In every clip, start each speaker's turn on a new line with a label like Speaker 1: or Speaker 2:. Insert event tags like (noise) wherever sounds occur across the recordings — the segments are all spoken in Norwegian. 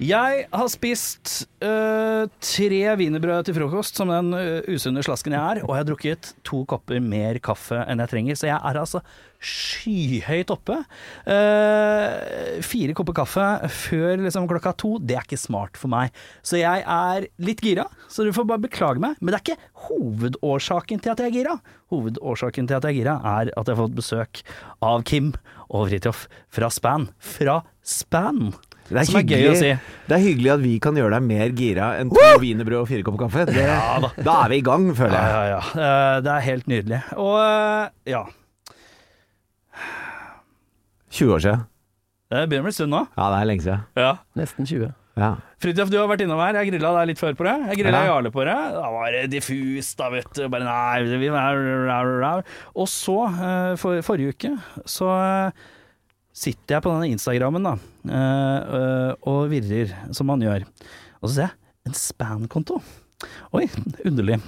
Speaker 1: Jeg har spist øh, tre wienerbrød til frokost, som den øh, usunne slasken jeg er, og jeg har drukket to kopper mer kaffe enn jeg trenger, så jeg er altså skyhøyt oppe. Eh, fire kopper kaffe før liksom, klokka to, det er ikke smart for meg. Så jeg er litt gira, så du får bare beklage meg. Men det er ikke hovedårsaken til at jeg er gira. Hovedårsaken til at jeg er gira, er at jeg har fått besøk av Kim og Fridtjof fra Span. Fra Span!
Speaker 2: Det er,
Speaker 1: Som er
Speaker 2: hyggelig,
Speaker 1: gøy å si.
Speaker 2: det er hyggelig at vi kan gjøre deg mer gira enn to wienerbrød og fire kopper kaffe. Det, da. er vi i gang, føler jeg.
Speaker 1: Ja, ja, ja. Eh, Det er helt nydelig. Og eh, ja.
Speaker 2: 20 år siden.
Speaker 1: Det begynner å bli stund nå.
Speaker 2: Ja, det er lenge siden.
Speaker 1: Ja.
Speaker 3: Nesten 20.
Speaker 2: Ja.
Speaker 1: Fridtjof, du har vært innom her. Jeg grilla deg litt før på det. Jeg grilla
Speaker 2: Ja.
Speaker 1: Jarle på det. Da var det diffust, da, vet du. Bare nei vi- rau, rau, rau. Og så, eh, for, forrige uke, så eh, sitter jeg på denne Instagrammen da, eh, eh, og virrer, som man gjør. Og så ser jeg en Span-konto. Oi, underlig.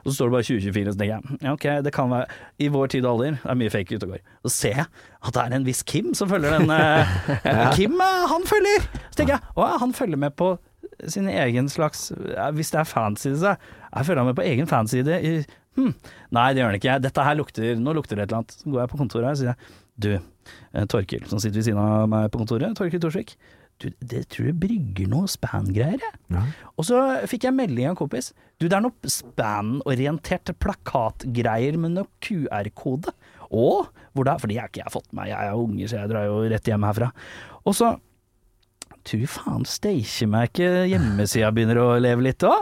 Speaker 1: Og så står det bare 2024, så tenker jeg ja, ok, det kan være I vår tid og alder, det er mye fake ute og går. Så ser jeg at det er en viss Kim som følger den eh, Kim, eh, han følger! Så tenker jeg å ja, han følger med på sin egen slags eh, Hvis det er fanside, så jeg følger han med på egen fanside i hm, Nei, det gjør han ikke. Dette her lukter Nå lukter det et eller annet. Så går jeg på kontoret her og sier jeg, du, eh, Torkil, som sitter ved siden av meg på kontoret, Torkil Torsvik, du, det tror jeg brygger noe span-greier, jeg.
Speaker 2: Ja.
Speaker 1: Og så fikk jeg melding av en kompis. Du, det er noe span-orientert plakatgreier med noe QR-kode. Og hvor da? For de har ikke jeg fått med meg, jeg er jo unge, så jeg drar jo rett hjem herfra. Og så Tror faen steikje meg ikke hjemmesida begynner å leve litt òg.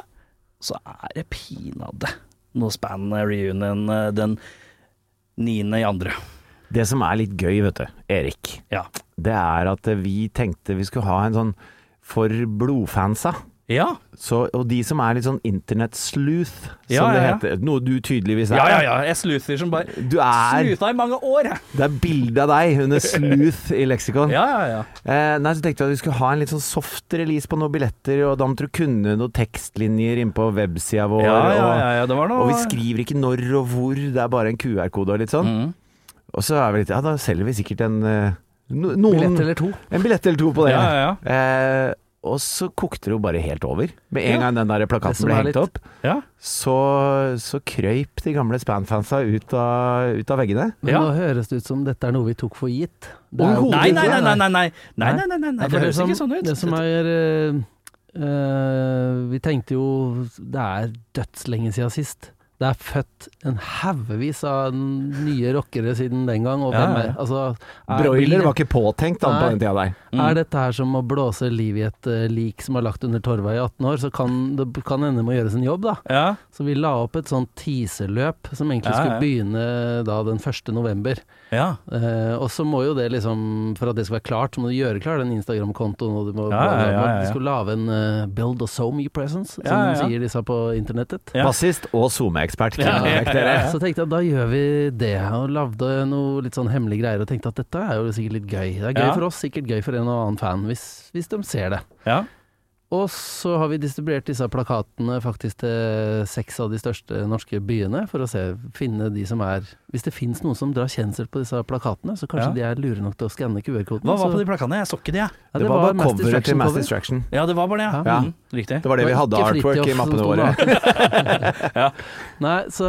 Speaker 1: Så er det pinadø noe span reunion eh, den niende i andre.
Speaker 2: Det som er litt gøy, vet du, Erik,
Speaker 1: Ja.
Speaker 2: det er at vi tenkte vi skulle ha en sånn for blodfansa.
Speaker 1: Ja,
Speaker 2: Så, og de som er litt sånn internett-sleuth, som
Speaker 1: Ja,
Speaker 2: det
Speaker 1: ja, ja.
Speaker 2: heter. Noe du tydeligvis er.
Speaker 1: ja, ja. ja. Jeg sleuther som bare
Speaker 2: Du er
Speaker 1: Slutha i mange år, jeg.
Speaker 2: Det er bilde av deg
Speaker 1: (laughs)
Speaker 2: under sleuth i leksikon.
Speaker 1: Ja, ja, ja.
Speaker 2: Eh, nei, så tenkte vi at vi skulle ha en litt sånn soft release på noen billetter, og da måtte du kunne noen tekstlinjer inne på websida vår.
Speaker 1: Ja, ja, ja, ja, det var
Speaker 2: Og,
Speaker 1: noe
Speaker 2: og vi skriver ikke når og hvor, det er bare en QR-kode og litt sånn.
Speaker 1: Mm.
Speaker 2: Og så er vi litt Ja, da selger vi sikkert en eh, no, noen,
Speaker 3: Billett eller to.
Speaker 2: En billett eller to på det.
Speaker 1: Ja, ja, ja.
Speaker 2: Eh, og så kokte det jo bare helt over. Med en
Speaker 1: Ja.
Speaker 2: gang den der
Speaker 3: Det
Speaker 2: plakaten
Speaker 3: som
Speaker 2: ble
Speaker 3: er
Speaker 2: hengt
Speaker 3: litt-
Speaker 2: opp,
Speaker 1: ja.
Speaker 2: så, så krøyp de gamle Span-fansa ut, av- ut av veggene.
Speaker 3: Men
Speaker 1: Ja.
Speaker 3: nå høres det ut som dette er noe vi tok for gitt. Det er jo-
Speaker 2: Overhodet
Speaker 1: Nei, nei, nei, nei, nei, nei, nei, nei, nei, nei,
Speaker 3: Ja,
Speaker 1: nei.
Speaker 3: for
Speaker 1: det høres
Speaker 3: som,
Speaker 1: ikke sånn ut.
Speaker 3: Det som er eh, eh, Vi tenkte jo Det er dødslenge siden sist. Det er født en haugevis av nye rockere siden den gang. Og
Speaker 1: Ja,
Speaker 3: hvem
Speaker 1: ja,
Speaker 3: er,
Speaker 1: ja.
Speaker 3: altså, er,
Speaker 2: Broiler
Speaker 3: blir-
Speaker 2: var ikke påtenkt da, på
Speaker 3: Nei.
Speaker 2: den tida der.
Speaker 1: Mm.
Speaker 3: Er dette her som å blåse liv i et eh, lik som er lagt under torva i 18 år, så kan det kan ende med å gjøres en jobb, da.
Speaker 1: Ja,
Speaker 3: Så vi la opp et sånt teaserløp som egentlig
Speaker 1: Ja, ja.
Speaker 3: skulle begynne eh, da den 1. november.
Speaker 1: ja.
Speaker 3: Eh, og så må jo det liksom For at det skal være klart, så må du gjøre klar den Instagram-kontoen. Og du må
Speaker 1: Ja, ja, ja, ja.
Speaker 3: Du skal lage en eh, build a some presence, som
Speaker 1: Ja, ja, ja.
Speaker 3: sier disse på internettet.
Speaker 1: Ja.
Speaker 2: Bassist og SoMe-ekspert.
Speaker 1: Ja, ja, ja, ja.
Speaker 3: Så tenkte jeg at da gjør vi det, og lagde noe litt sånn hemmelige greier. Og tenkte at dette er jo sikkert litt gøy. Det er gøy
Speaker 1: Ja.
Speaker 3: for oss, sikkert gøy for en og annen fan, hvis, hvis de ser det.
Speaker 1: ja.
Speaker 3: Og så har vi distribuert disse plakatene faktisk til seks av de største norske byene, for å se, finne de som er Hvis det fins noen som drar kjensel på disse plakatene, så kanskje
Speaker 1: Ja.
Speaker 3: de er lure nok til å skanne QR-koden.
Speaker 1: Hva var på
Speaker 3: så-
Speaker 1: de plakatene? Jeg så ikke de, jeg.
Speaker 3: Ja,
Speaker 2: Det var bare
Speaker 3: Mass
Speaker 2: coveret til
Speaker 3: Distraction
Speaker 2: Mass
Speaker 3: cover.
Speaker 2: Distraction.
Speaker 1: Ja, det var bare det, ja.
Speaker 2: Ja.
Speaker 1: Mm, riktig.
Speaker 2: Det var det vi
Speaker 3: var
Speaker 2: hadde
Speaker 3: ikke
Speaker 2: artwork
Speaker 3: Fridtjof
Speaker 2: i
Speaker 3: som
Speaker 2: mappene
Speaker 3: sto
Speaker 2: våre. (laughs)
Speaker 3: Nei, så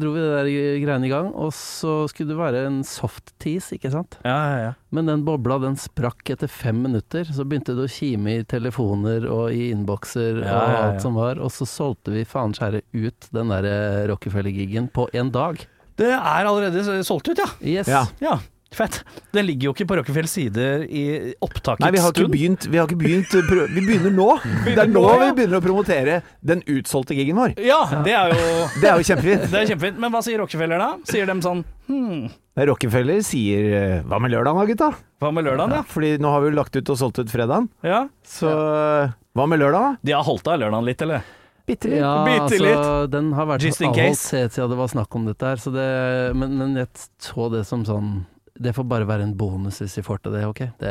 Speaker 3: dro vi det der greiene i gang, og så skulle det være en soft tease, ikke sant?
Speaker 1: Ja, ja, ja.
Speaker 3: Men den bobla den sprakk etter fem minutter, så begynte det å kime i telefoner og i innbokser
Speaker 1: Ja,
Speaker 3: og
Speaker 1: ja, ja.
Speaker 3: alt som var, og så solgte vi faen skjære ut den der Rockefeller-gigen på en dag.
Speaker 1: Det er allerede s- solgt ut, ja.
Speaker 3: Yes.
Speaker 2: Ja.
Speaker 1: Ja, fett. Den ligger jo ikke på Rockefjells sider i opptakets
Speaker 2: Nei, vi har ikke
Speaker 1: stund.
Speaker 2: begynt. Vi, har ikke begynt eh, pro- vi begynner nå. Det er nå
Speaker 1: nå,
Speaker 2: vi
Speaker 1: ja.
Speaker 2: begynner å promotere den utsolgte gigen vår.
Speaker 1: Ja, det er jo
Speaker 2: Det er jo kjempefint.
Speaker 1: (laughs) det er kjempefint. Men hva sier Rockefeller da? Sier de sånn hm,
Speaker 2: Rockefeller sier eh, 'hva med lørdagen da, gutta'?
Speaker 1: hva med lørdagen, ja?
Speaker 2: Fordi nå har vi jo lagt ut og solgt ut fredagen.
Speaker 1: ja?
Speaker 2: Så eh, hva med lørdagen?
Speaker 1: De har holdt av lørdagen litt, eller?
Speaker 2: Bitte litt.
Speaker 3: Ja,
Speaker 1: Bitte
Speaker 3: altså,
Speaker 1: litt.
Speaker 3: den har vært
Speaker 1: Just in
Speaker 3: avholdt
Speaker 1: case.
Speaker 3: helt siden det var snakk om dette her, så det, men, men jeg så det som sånn Det får bare være en bonus hvis vi får til det, OK? Det,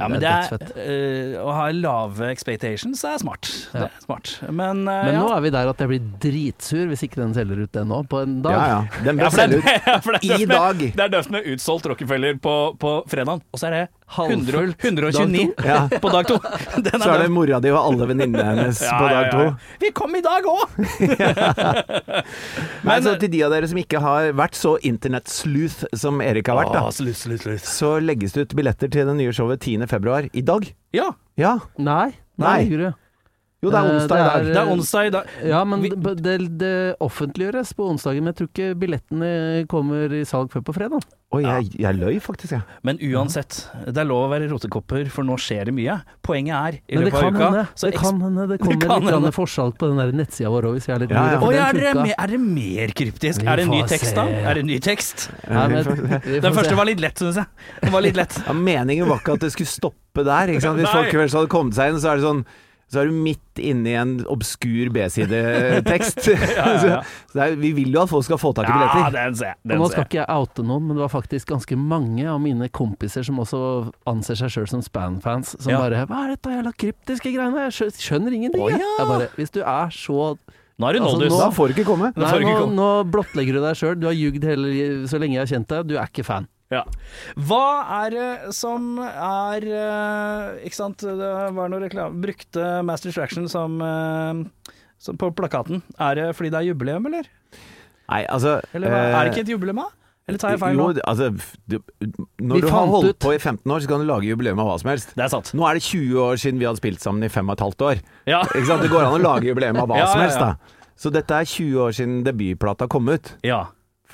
Speaker 1: Ja, men
Speaker 3: det
Speaker 1: det
Speaker 3: er
Speaker 1: er,
Speaker 3: dødsfett.
Speaker 1: eh, å ha lave expectations er smart. Det
Speaker 3: Ja.
Speaker 1: er smart. Men, eh,
Speaker 3: Men
Speaker 1: ja.
Speaker 3: nå er vi der at jeg blir dritsur hvis ikke den selger ut det nå, på en dag.
Speaker 2: Ja, ja. Den bør
Speaker 1: Ja, for det er-
Speaker 2: selge ut
Speaker 1: (laughs) ja, for det er
Speaker 2: i
Speaker 1: døft med-
Speaker 2: dag.
Speaker 1: Det er døft med utsolgt Rockefeller på, på fredagen, og så er det 100, og-
Speaker 3: Halvfullt
Speaker 1: 129
Speaker 2: Ja.
Speaker 1: på dag
Speaker 3: (laughs)
Speaker 1: to. Den
Speaker 2: Så er det
Speaker 1: døft.
Speaker 2: mora di og alle venninnene hennes
Speaker 1: (laughs) Ja,
Speaker 2: på dag
Speaker 1: ja,
Speaker 2: to.
Speaker 1: ja. Vi kom i dag òg!
Speaker 2: Nei,
Speaker 1: Men-
Speaker 2: så til de av dere som ikke har vært så internett-sleuth som Erik har vært, da,
Speaker 1: slutt, slutt, slutt.
Speaker 2: så legges det ut billetter til det nye showet 10.2. i dag.
Speaker 1: Ja,
Speaker 2: Ja.
Speaker 3: Nei, nei,
Speaker 2: Nei.
Speaker 3: Guru.
Speaker 2: Jo, det er
Speaker 3: Eh,
Speaker 2: onsdag i dag.
Speaker 1: det er onsdag i dag.
Speaker 3: Ja, men
Speaker 1: Vi-
Speaker 3: det, det, det offentliggjøres på onsdagen, men jeg tror ikke billettene kommer i salg før på fredag.
Speaker 2: Oi, jeg, jeg løy faktisk, jeg.
Speaker 1: Men uansett, det er lov å være rotekopper, for nå skjer det mye. Poenget er, i
Speaker 3: Men det
Speaker 1: løpet av
Speaker 3: kan
Speaker 1: uka
Speaker 3: hende
Speaker 1: så
Speaker 3: det,
Speaker 1: (laughs)
Speaker 3: kan hende det
Speaker 1: kan
Speaker 3: kommer litt
Speaker 1: hende.
Speaker 3: grann forsalg på den der nettsida vår òg, hvis vi er litt
Speaker 2: Ja, ja.
Speaker 3: for
Speaker 1: Å
Speaker 3: den
Speaker 1: ja, er, det
Speaker 3: funka.
Speaker 1: mer- er det mer kryptisk?
Speaker 3: Vi
Speaker 1: Er det en ny
Speaker 3: får
Speaker 1: tekst,
Speaker 3: se.
Speaker 1: da? Er det en ny tekst?
Speaker 3: Nei, men- vi får
Speaker 1: Den
Speaker 3: se.
Speaker 1: første var litt lett, syns jeg. Den var litt lett.
Speaker 2: Ja, meningen var ikke at det skulle stoppe der. Ikke sant? Hvis
Speaker 1: (laughs) Nei.
Speaker 2: folk først hadde kommet seg inn, så er det sånn så er du midt inne i en obskur
Speaker 1: (laughs)
Speaker 2: B-sidetekst.
Speaker 1: ja.
Speaker 2: Så- så det er- Vi vil jo at folk skal få tak i
Speaker 1: Ja,
Speaker 2: billetter.
Speaker 1: den ser jeg.
Speaker 3: Og
Speaker 1: Den
Speaker 3: nå
Speaker 1: ser
Speaker 3: skal
Speaker 1: jeg.
Speaker 3: ikke jeg oute noen, men det var faktisk ganske mange av mine kompiser som også anser seg sjøl som Span-fans, som
Speaker 1: Ja.
Speaker 3: bare 'Hva er dette jævla kryptiske greiene? Jeg skjø- skjønner ingenting',
Speaker 1: Å,
Speaker 3: jeg.
Speaker 1: ja.
Speaker 3: jeg bare, Hvis du er så
Speaker 1: Nå er det
Speaker 3: Altså,
Speaker 1: nådus.
Speaker 2: Da får du ikke komme.
Speaker 1: Det
Speaker 3: Nei,
Speaker 1: får du
Speaker 3: nå,
Speaker 1: ikke komme.
Speaker 3: nå blottlegger du deg sjøl. Du har jugd hele li- så lenge jeg har kjent deg. Du er ikke fan.
Speaker 1: Ja. Hva er det som er eh, Ikke sant, det var noe reklame Brukte Master Distraction som, eh, som på plakaten. Er det fordi det er jubileum, eller?
Speaker 2: Nei, altså
Speaker 1: Eller hva? er
Speaker 2: eh,
Speaker 1: det ikke et jubileum, da? Eller tar jeg feil
Speaker 2: jo,
Speaker 1: nå?
Speaker 2: altså, f- du,
Speaker 3: Vi
Speaker 2: Når du har
Speaker 3: fant
Speaker 2: holdt
Speaker 3: ut-
Speaker 2: på i 15 år, så kan du lage jubileum av hva som helst.
Speaker 1: Det er sant.
Speaker 2: Nå er det 20 år siden vi hadde spilt sammen i fem og et halvt år.
Speaker 1: Ja.
Speaker 2: Ikke sant? Det går an å lage jubileum av hva
Speaker 1: Ja,
Speaker 2: som
Speaker 1: ja,
Speaker 2: helst,
Speaker 1: ja.
Speaker 2: da. Så dette er 20 år siden debutplata kom ut.
Speaker 1: ja.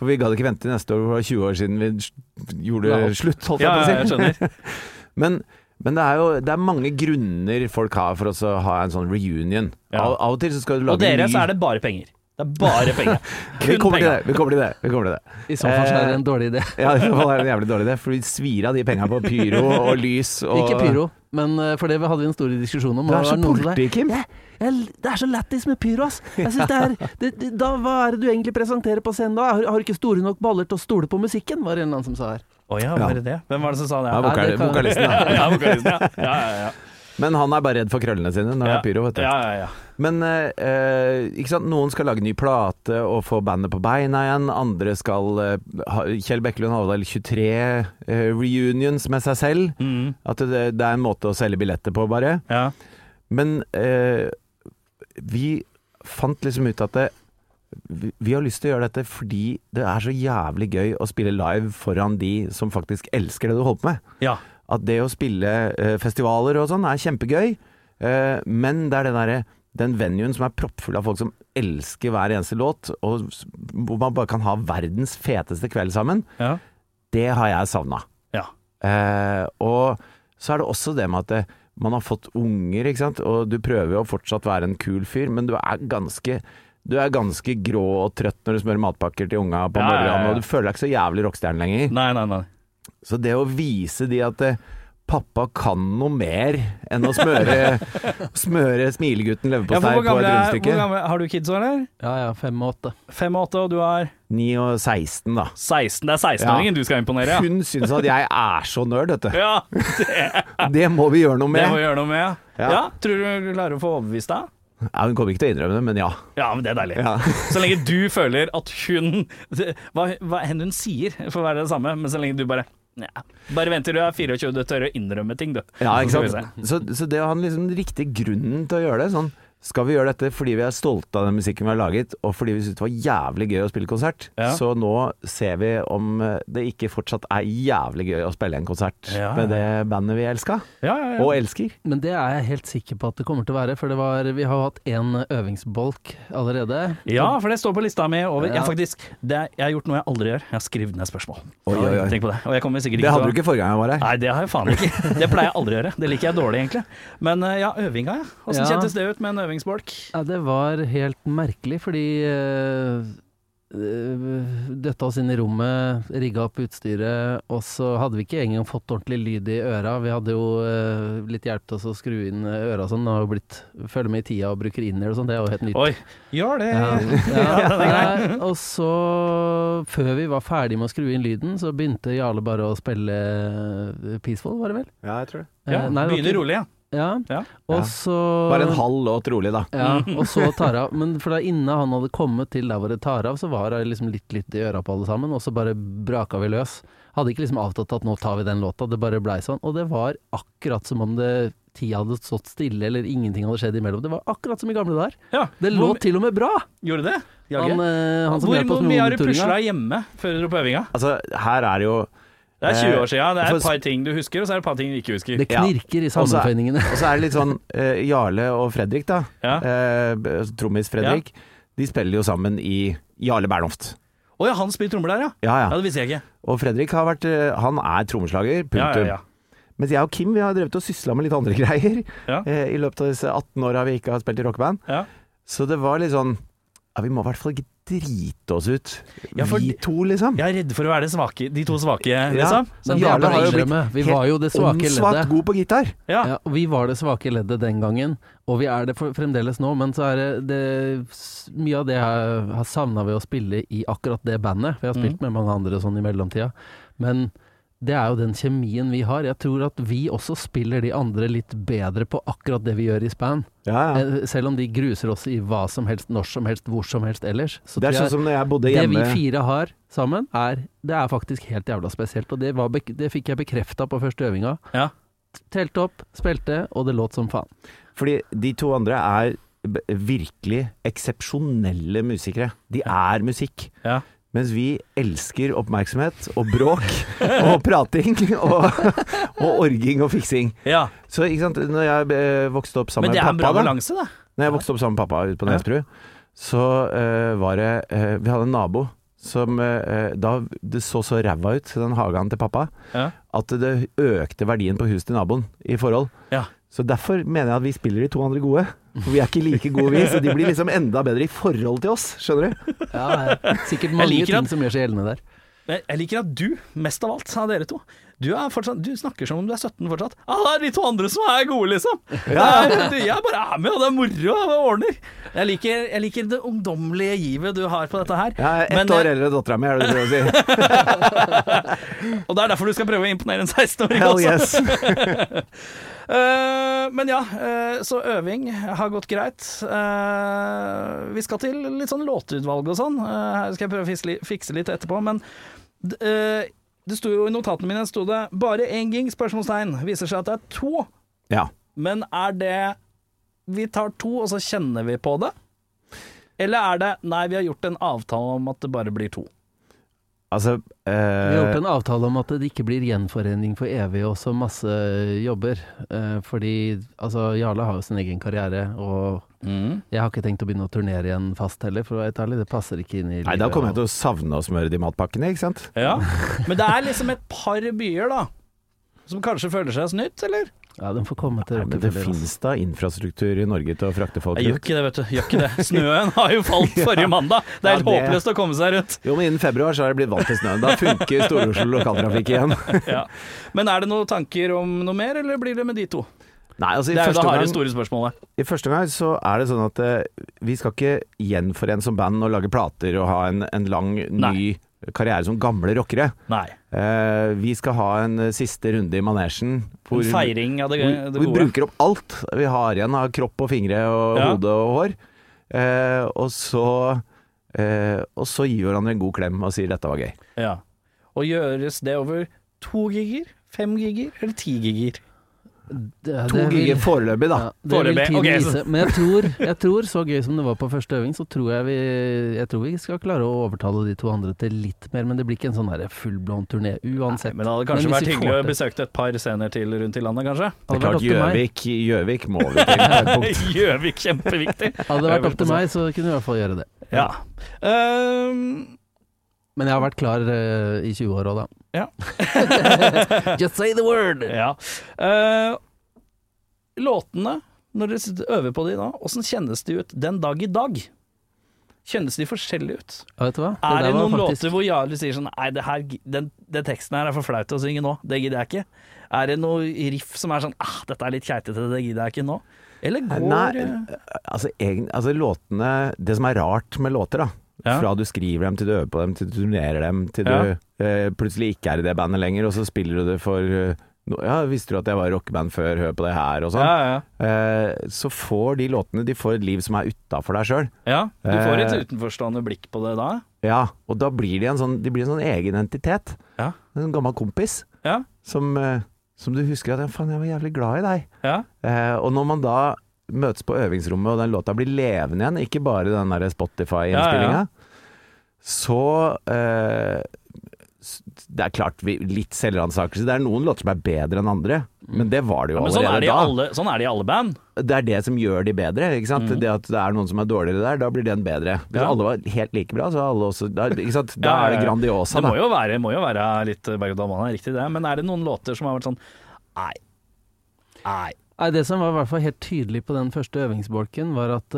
Speaker 2: For vi gadd ikke vente til neste år, for det var 20 år siden vi sj- gjorde
Speaker 3: Ja.
Speaker 2: slutt, holdt
Speaker 1: Ja,
Speaker 2: jeg på å si.
Speaker 1: ja, jeg skjønner.
Speaker 2: (laughs) Men, men det er jo det er mange grunner folk har for oss å ha en sånn reunion.
Speaker 1: Ja.
Speaker 2: Av, av og til så skal du
Speaker 1: Og
Speaker 2: lage en ny
Speaker 1: dere, så er det bare penger. Det er bare
Speaker 2: (laughs)
Speaker 1: penger.
Speaker 2: Vi
Speaker 1: Kun
Speaker 2: kommer til
Speaker 1: penger.
Speaker 2: det. Vi kommer til det. Vi kommer til det.
Speaker 3: I så fall så er
Speaker 2: Eh,
Speaker 3: det en dårlig idé.
Speaker 2: Ja, i så fall er det en jævlig dårlig idé, for vi svir av de penga på pyro og lys og
Speaker 3: Ikke pyro, men eh, for det hadde vi en stor diskusjon om.
Speaker 2: Det
Speaker 3: og
Speaker 2: er så
Speaker 3: noen som sa,
Speaker 2: politi, Kim.
Speaker 3: «Jeg- jeg- Det er så lættis med pyro, ass. Jeg synes det er, det, det, da, hva er det du egentlig presenterer på scenen da? Har, har du ikke store nok baller til å stole på musikken, var det en eller annen som sa her.
Speaker 1: Å ja, var det det? Hvem var det som sa det?
Speaker 2: Ja,
Speaker 3: Nei,
Speaker 2: vokal,
Speaker 3: det kan-
Speaker 2: vokalisten, da.
Speaker 1: Ja, (laughs) vokalisten, ja. Ja, ja,
Speaker 2: (laughs)
Speaker 1: ja.
Speaker 2: Men han er bare redd for krøllene sine når det er pyro, vet du.
Speaker 1: Ja, ja, ja.
Speaker 2: Men eh, eh, ikke sant? noen skal lage ny plate og få bandet på beina igjen. Andre skal eh, ha, Kjell Bekkelund hadde vel 23 eh, reunions med seg selv.
Speaker 1: Mm,
Speaker 2: At det, det er en måte å selge billetter på, bare.
Speaker 1: ja.
Speaker 2: Men eh, vi fant liksom ut at det, vi, vi har lyst til å gjøre dette fordi det er så jævlig gøy å spille live foran de som faktisk elsker det du holder på med.
Speaker 1: Ja.
Speaker 2: At det å spille eh, festivaler og sånn er kjempegøy, eh, men det er den derre den venuen som er proppfull av folk som elsker hver eneste låt, og s- hvor man bare kan ha verdens feteste kveld sammen,
Speaker 1: Ja.
Speaker 2: det har jeg savna.
Speaker 1: Ja.
Speaker 2: Eh, og så er det også det med at det, man har fått unger, ikke sant? og du prøver jo å fortsatt være en kul fyr, men du er ganske du er ganske grå og trøtt når du smører matpakker til unga på
Speaker 1: Ja, ja,
Speaker 2: morgenen,
Speaker 1: ja.
Speaker 2: og du føler deg ikke så jævlig rockestjerne lenger.
Speaker 1: Nei, nei, nei.
Speaker 2: Så det å vise de at eh, pappa kan noe mer enn å
Speaker 1: (laughs)
Speaker 2: smøre, smøre smilegutten
Speaker 1: Ja, for
Speaker 2: leverpostei
Speaker 1: hvor
Speaker 2: på et
Speaker 1: gamle, er, hvor
Speaker 2: rundstykke.
Speaker 1: gamle Har du kids, eller?
Speaker 3: Ja ja, fem og åtte.
Speaker 1: Fem og åtte, og du er
Speaker 2: 9 og 16, da.
Speaker 1: 16. Det er 16-åringen du skal imponere, ja.
Speaker 2: Hun syns at jeg er så nerd, vet du.
Speaker 1: Ja,
Speaker 2: Det må vi gjøre noe
Speaker 1: Det må vi
Speaker 2: med.
Speaker 1: gjøre noe med. Ja.
Speaker 2: Ja.
Speaker 1: Tror du du klarer å få overbevist deg?
Speaker 2: Ja, hun kommer ikke til å innrømme det, men ja.
Speaker 1: Ja, men det er deilig.
Speaker 2: ja.
Speaker 1: Så lenge du føler at hun (laughs) Hva, hva enn hun sier, får være det samme, men så lenge du bare ja. Bare vent til du er 24 og tør å innrømme ting, du.
Speaker 2: Ja, ikke
Speaker 1: Så skal vi se.
Speaker 2: sant? Så, så det å ha den liksom riktige grunnen til å gjøre det sånn, Skal vi gjøre dette fordi vi er stolte av den musikken vi har laget, og fordi vi syntes det var jævlig gøy å spille konsert?
Speaker 1: Ja.
Speaker 2: Så nå ser vi om eh, det ikke fortsatt er jævlig gøy å spille en konsert
Speaker 1: Ja.
Speaker 2: med det bandet vi elska,
Speaker 1: Ja, ja, ja.
Speaker 2: og elsker.
Speaker 3: Men det er jeg helt sikker på at det kommer til å være, for det var, vi har hatt én øvingsbolk allerede.
Speaker 1: ja, for det står på lista mi over
Speaker 3: Ja.
Speaker 1: Jeg faktisk det, er- Jeg har gjort noe jeg aldri gjør. Jeg har skrevet ned spørsmål.
Speaker 2: Oi, oi, oi.
Speaker 1: Tenk på det. Og jeg kommer sikkert
Speaker 2: Det
Speaker 1: ikke
Speaker 2: hadde
Speaker 1: til å-
Speaker 2: du ikke forrige gang jeg var her.
Speaker 1: Nei, det har jeg faen ikke. Det pleier jeg aldri å gjøre. Det liker jeg dårlig, egentlig. Men eh, ja, øvinga, ja. Åssen
Speaker 3: Ja.
Speaker 1: kjentes det ut med en øvingsbolk?
Speaker 3: Ja, det var helt merkelig, fordi eh, eh, døtta oss inn i rommet, rigga opp utstyret, og så hadde vi ikke engang fått ordentlig lyd i øra. Vi hadde jo eh, litt hjelp til oss å skru inn eh, øra og sånn, det har jo blitt følge med i tida og bruker inner og sånn, det er jo helt nytt.
Speaker 1: Oi, gjør det!
Speaker 3: Ja.
Speaker 1: Ja, den er grei.
Speaker 3: Nei, og så, før vi var ferdig med å skru inn lyden, så begynte Jarle bare å spille eh, Peaceful, var det vel?
Speaker 2: Ja, jeg tror det.
Speaker 3: Eh,
Speaker 1: Ja,
Speaker 3: nei, det var
Speaker 1: begynner
Speaker 3: ikke-
Speaker 1: rolig, ja.
Speaker 3: Ja,
Speaker 1: Ja.
Speaker 2: Ja.
Speaker 3: og så
Speaker 2: Bare en halv låt rolig, da.
Speaker 1: (laughs)
Speaker 3: Ja, og så tar av. Men for da innen han hadde kommet til der hvor det tar av, så var det liksom litt lytt i øra på alle sammen, og så bare braka vi løs. Hadde ikke liksom avtalt at nå tar vi den låta, det bare blei sånn. Og det var akkurat som om det tida hadde stått stille, eller ingenting hadde skjedd imellom. Det var akkurat som i gamle dager.
Speaker 1: ja.
Speaker 3: Det
Speaker 1: Hvor-
Speaker 3: låt til og med bra!
Speaker 1: Gjorde det? Jagge?
Speaker 3: Han, eh, han som
Speaker 1: Hvor
Speaker 3: hjalp oss
Speaker 1: hvor
Speaker 3: med
Speaker 1: mye har du
Speaker 3: monitoringa.
Speaker 1: pusla hjemme før dere dro på øvinga?
Speaker 2: Altså, her er det jo
Speaker 1: Det er 20 år siden. Det er
Speaker 2: For-
Speaker 1: et par ting du husker, og så er det et par ting du ikke husker.
Speaker 3: Eh, Det knirker i
Speaker 2: Og så-
Speaker 3: sammenføyningene.
Speaker 2: Og så er det litt sånn eh, Jarle og Fredrik, da.
Speaker 1: Ja.
Speaker 2: Eh, Trommis Fredrik. De spiller jo sammen i Jarle Bernhoft.
Speaker 1: Å ja, han spiller trommer der, ja.
Speaker 2: Ja,
Speaker 1: Ja,
Speaker 2: ja.
Speaker 1: Det visste jeg ikke.
Speaker 2: Og Fredrik har vært eh, Han er trommeslager,
Speaker 1: Ja, ja,
Speaker 2: punktum.
Speaker 1: ja.
Speaker 2: Mens jeg og Kim vi har drevet og sysla med litt andre (laughs) greier
Speaker 1: Ja.
Speaker 2: eh, i løpet av disse 18 åra vi ikke har spilt i rockeband.
Speaker 1: Ja.
Speaker 2: Så det var litt sånn Ja, vi må i hvert fall ikke drite oss ut,
Speaker 1: Ja, for-
Speaker 2: vi to, liksom.
Speaker 1: Jeg er redd for å være det svake, de to svake, liksom.
Speaker 3: Men
Speaker 2: Men Jarle
Speaker 3: det
Speaker 2: har jo
Speaker 3: er bare å
Speaker 2: blitt
Speaker 3: innrømme. Vi
Speaker 2: helt
Speaker 3: var Sånn jo det svake
Speaker 2: åndssvakt
Speaker 3: leddet.
Speaker 2: god på gitar.
Speaker 1: Ja.
Speaker 3: (laughs) Ja, og vi var det svake leddet den gangen, og vi er det for, fremdeles nå. Men så er det, det s- mye av det her har savna ved å spille i akkurat det bandet. Vi har spilt
Speaker 2: Mm.
Speaker 3: med mange andre sånn i mellomtida. Men det er jo den kjemien vi har. Jeg tror at vi også spiller de andre litt bedre på akkurat det vi gjør i span.
Speaker 2: Ja, ja.
Speaker 3: Eh, Selv om de gruser oss i hva som helst, når som helst, hvor som helst ellers. Så
Speaker 2: Det er
Speaker 3: tror jeg-
Speaker 2: sånn som når jeg bodde
Speaker 3: det
Speaker 2: hjemme
Speaker 3: vi fire har sammen, er, det er faktisk helt jævla spesielt. Og det, var, bek- det fikk jeg bekrefta på første øvinga.
Speaker 1: Ja.
Speaker 3: Telte opp, spilte, og det låt
Speaker 2: (laughs)
Speaker 3: som faen.
Speaker 2: Fordi de to andre er b- virkelig eksepsjonelle musikere. De er musikk.
Speaker 1: Ja.
Speaker 2: Mens vi elsker oppmerksomhet og bråk (laughs) og prating og, og orging og fiksing.
Speaker 1: ja.
Speaker 2: Så ikke sant, når jeg eh, vokste opp sammen
Speaker 1: Men
Speaker 2: med
Speaker 1: det er en bra
Speaker 2: pappa da,
Speaker 1: balanse, da.
Speaker 2: Når jeg vokste opp sammen med pappa ute på
Speaker 1: Ja.
Speaker 2: Nesbru, så eh, var det eh, Vi hadde en nabo som eh, Da det så så ræva ut, den hagen til pappa,
Speaker 1: Ja.
Speaker 2: at det økte verdien på huset til naboen i forhold.
Speaker 1: Ja.
Speaker 2: Så derfor mener jeg at vi spiller de to andre gode. For vi er ikke like gode, vi. Så de blir liksom enda bedre i forhold til oss, skjønner du?
Speaker 3: Ja, sikkert mange
Speaker 1: liker
Speaker 3: ting
Speaker 1: at-
Speaker 3: som gjør seg gjeldende der.
Speaker 1: Men Jeg liker at du, mest av alt, av dere to du, er fortsatt, du snakker som om du er 17 fortsatt. Ja, det er de to andre som er gode, liksom. Det er, du, jeg bare er med, og det er moro, og det ordner. Jeg liker, jeg liker det ungdommelige givet du har på dette her.
Speaker 2: Jeg er ett
Speaker 1: Men,
Speaker 2: år
Speaker 1: eh,
Speaker 2: eldre enn dattera mi, er det du prøver (laughs) å si?
Speaker 1: og det er derfor du skal prøve å imponere en 16-åring
Speaker 2: Hell
Speaker 1: også.
Speaker 2: yes.
Speaker 1: Eh, men ja, eh, så øving har gått greit. Eh, vi skal til litt sånn låtutvalg og sånn. Eh, her skal jeg prøve å fisle, fikse litt etterpå, men d- eh, det sto jo i notatene mine sto det 'bare én gig?' spørsmålstegn. Viser seg at det er to,
Speaker 2: Ja.
Speaker 1: men er det Vi tar to, og så kjenner vi på det? Eller er det 'nei, vi har gjort en avtale om at det bare blir to'?
Speaker 2: Altså
Speaker 3: Vi har
Speaker 2: eh,
Speaker 3: gjort en avtale om at det ikke blir gjenforening for evig og så masse jobber. Eh, fordi altså, Jarle har jo sin egen karriere, og jeg har ikke tenkt å begynne å turnere igjen fast heller, for å være helt ærlig. Det passer ikke inn i
Speaker 2: eh, Nei, da kommer jeg til å savne å smøre de matpakkene, ikke sant?
Speaker 1: Ja. Men det er liksom et par byer, da, som kanskje føler seg snytt, eller?
Speaker 3: Ja, den får komme til
Speaker 2: Nei, men det
Speaker 3: Rockefeller, altså.
Speaker 2: finnes da infrastruktur i Norge til å frakte folk
Speaker 1: Jeg gjør
Speaker 2: rundt.
Speaker 1: ikke det, vet du. Gjør ikke det. (laughs) Snøen har jo (laughs) falt forrige mandag. Det er helt
Speaker 2: Ja, det-
Speaker 1: håpløst å komme seg rundt. (laughs)
Speaker 2: Jo, men innen februar så har jeg blitt vant til snøen. Da funker Stor-Oslo lokaltrafikk igjen.
Speaker 1: Ja. Men er det noen tanker om noe mer, eller blir det med de to?
Speaker 2: (laughs) Nei, altså i
Speaker 1: Det er jo
Speaker 2: første,
Speaker 1: det harde,
Speaker 2: omgang,
Speaker 1: store spørsmålet.
Speaker 2: i første omgang så er det sånn at eh, vi skal ikke gjenforene som band og lage plater og ha en, en lang, ny
Speaker 1: Nei.
Speaker 2: karriere som gamle rockere.
Speaker 1: Nei.
Speaker 2: Eh, vi skal ha en eh, siste runde i manesjen. hvor-
Speaker 1: En feiring av det,
Speaker 2: hvor-
Speaker 1: det
Speaker 2: Vi
Speaker 1: gode.
Speaker 2: bruker opp alt vi har igjen av kropp og fingre og
Speaker 1: Ja.
Speaker 2: hode og hår. Eh, og så eh, Og så gir vi hverandre en god klem og sier 'dette var gøy'.
Speaker 1: Ja. Og gjøres det over to giger, fem giger eller ti giger?
Speaker 3: Det-
Speaker 2: To
Speaker 3: det vil-
Speaker 2: giger foreløpig, da.
Speaker 3: Ja, det vil
Speaker 1: Foreløpig.
Speaker 3: tiden
Speaker 1: Ok, så-
Speaker 3: vise. Men jeg tror, jeg tror, så gøy som det var på første øving, så tror jeg vi, jeg tror vi skal klare å overtale de to andre til litt mer. Men det blir ikke en sånn der fullblån turné uansett.
Speaker 1: Men det hadde kanskje
Speaker 3: Men hvis
Speaker 1: vært
Speaker 3: vi
Speaker 1: hyggelig
Speaker 3: får
Speaker 1: å
Speaker 3: det.
Speaker 1: besøke et par scener til rundt i landet, (laughs) kanskje?
Speaker 2: Det er
Speaker 3: Hadde det
Speaker 2: klart,
Speaker 3: vært opp til meg,
Speaker 2: Gjøvik, Gjøvik må
Speaker 3: (laughs)
Speaker 2: vi til. på et punkt.
Speaker 1: Gjøvik, kjempeviktig.
Speaker 3: hadde det vært opp til
Speaker 1: Øvelse.
Speaker 3: meg, så kunne vi i hvert fall gjøre det.
Speaker 1: (laughs) Ja. Ehm,
Speaker 3: Men jeg har vært klar eh, i 20 år òg, da.
Speaker 1: Ja.
Speaker 3: (laughs) Just say the
Speaker 1: (laughs)
Speaker 3: word!
Speaker 1: Ja. Eh, låtene, når dere sitter- øver på de da, åssen kjennes de ut den dag i dag? kjennes de forskjellige ut?
Speaker 3: Ja, vet du hva?
Speaker 1: Er det
Speaker 3: der var
Speaker 1: noen
Speaker 3: faktisk-
Speaker 1: låter hvor Jarle sier sånn Nei, det her, den, den teksten her er for flau til å synge nå, det gidder jeg ikke. Er det noe riff som er sånn ah, Dette er litt keitete, det gidder jeg ikke nå. Eller går
Speaker 2: Nei,
Speaker 1: eh,
Speaker 2: altså, egen, altså låtene Det som er rart med låter, da.
Speaker 1: Ja.
Speaker 2: eh, Fra du skriver dem, til du øver på dem, til du turnerer dem, til du eh, plutselig ikke er i det bandet lenger, og så spiller du det for eh, no, Ja, visste du at jeg var i rockeband før, hør på det her, og sånn.
Speaker 1: ja, ja.
Speaker 2: Eh, så får de låtene De får et liv som er utafor deg sjøl.
Speaker 1: ja, du får et
Speaker 2: Eh.
Speaker 1: utenforstående blikk på det da.
Speaker 2: Ja, og da blir de en sånn, de blir en sånn egen entitet.
Speaker 1: Ja.
Speaker 2: En sånn gammel kompis
Speaker 1: Ja.
Speaker 2: som, eh, som du husker at ja, faen, jeg var jævlig glad i deg.
Speaker 1: Ja,
Speaker 2: Eh, og når man da møtes på øvingsrommet, og den låta blir levende igjen, ikke bare den der Spotify-innspillinga,
Speaker 1: Ja,
Speaker 2: så eh, s- det er klart, vi, litt selvransakelse. Det er noen låter som er bedre enn andre, men det var det jo
Speaker 1: men sånn er
Speaker 2: allerede
Speaker 1: det i
Speaker 2: da.
Speaker 1: alle, sånn er det i alle band.
Speaker 2: Det er det som gjør de bedre, ikke sant? Det at det er noen som er dårligere der, da blir den bedre. Hvis
Speaker 1: Ja.
Speaker 2: alle var helt like bra, så er alle også da, ikke sant?
Speaker 1: Ja,
Speaker 2: da
Speaker 1: ja,
Speaker 2: er det
Speaker 1: ja.
Speaker 2: Grandiosa,
Speaker 1: Det må
Speaker 2: da.
Speaker 1: jo være, må jo være litt berg-og-dal-bane, riktig det. Men er det noen låter som har vært sånn Nei. Nei.
Speaker 3: Nei, Det som var i hvert fall helt tydelig på den første øvingsbolken, var at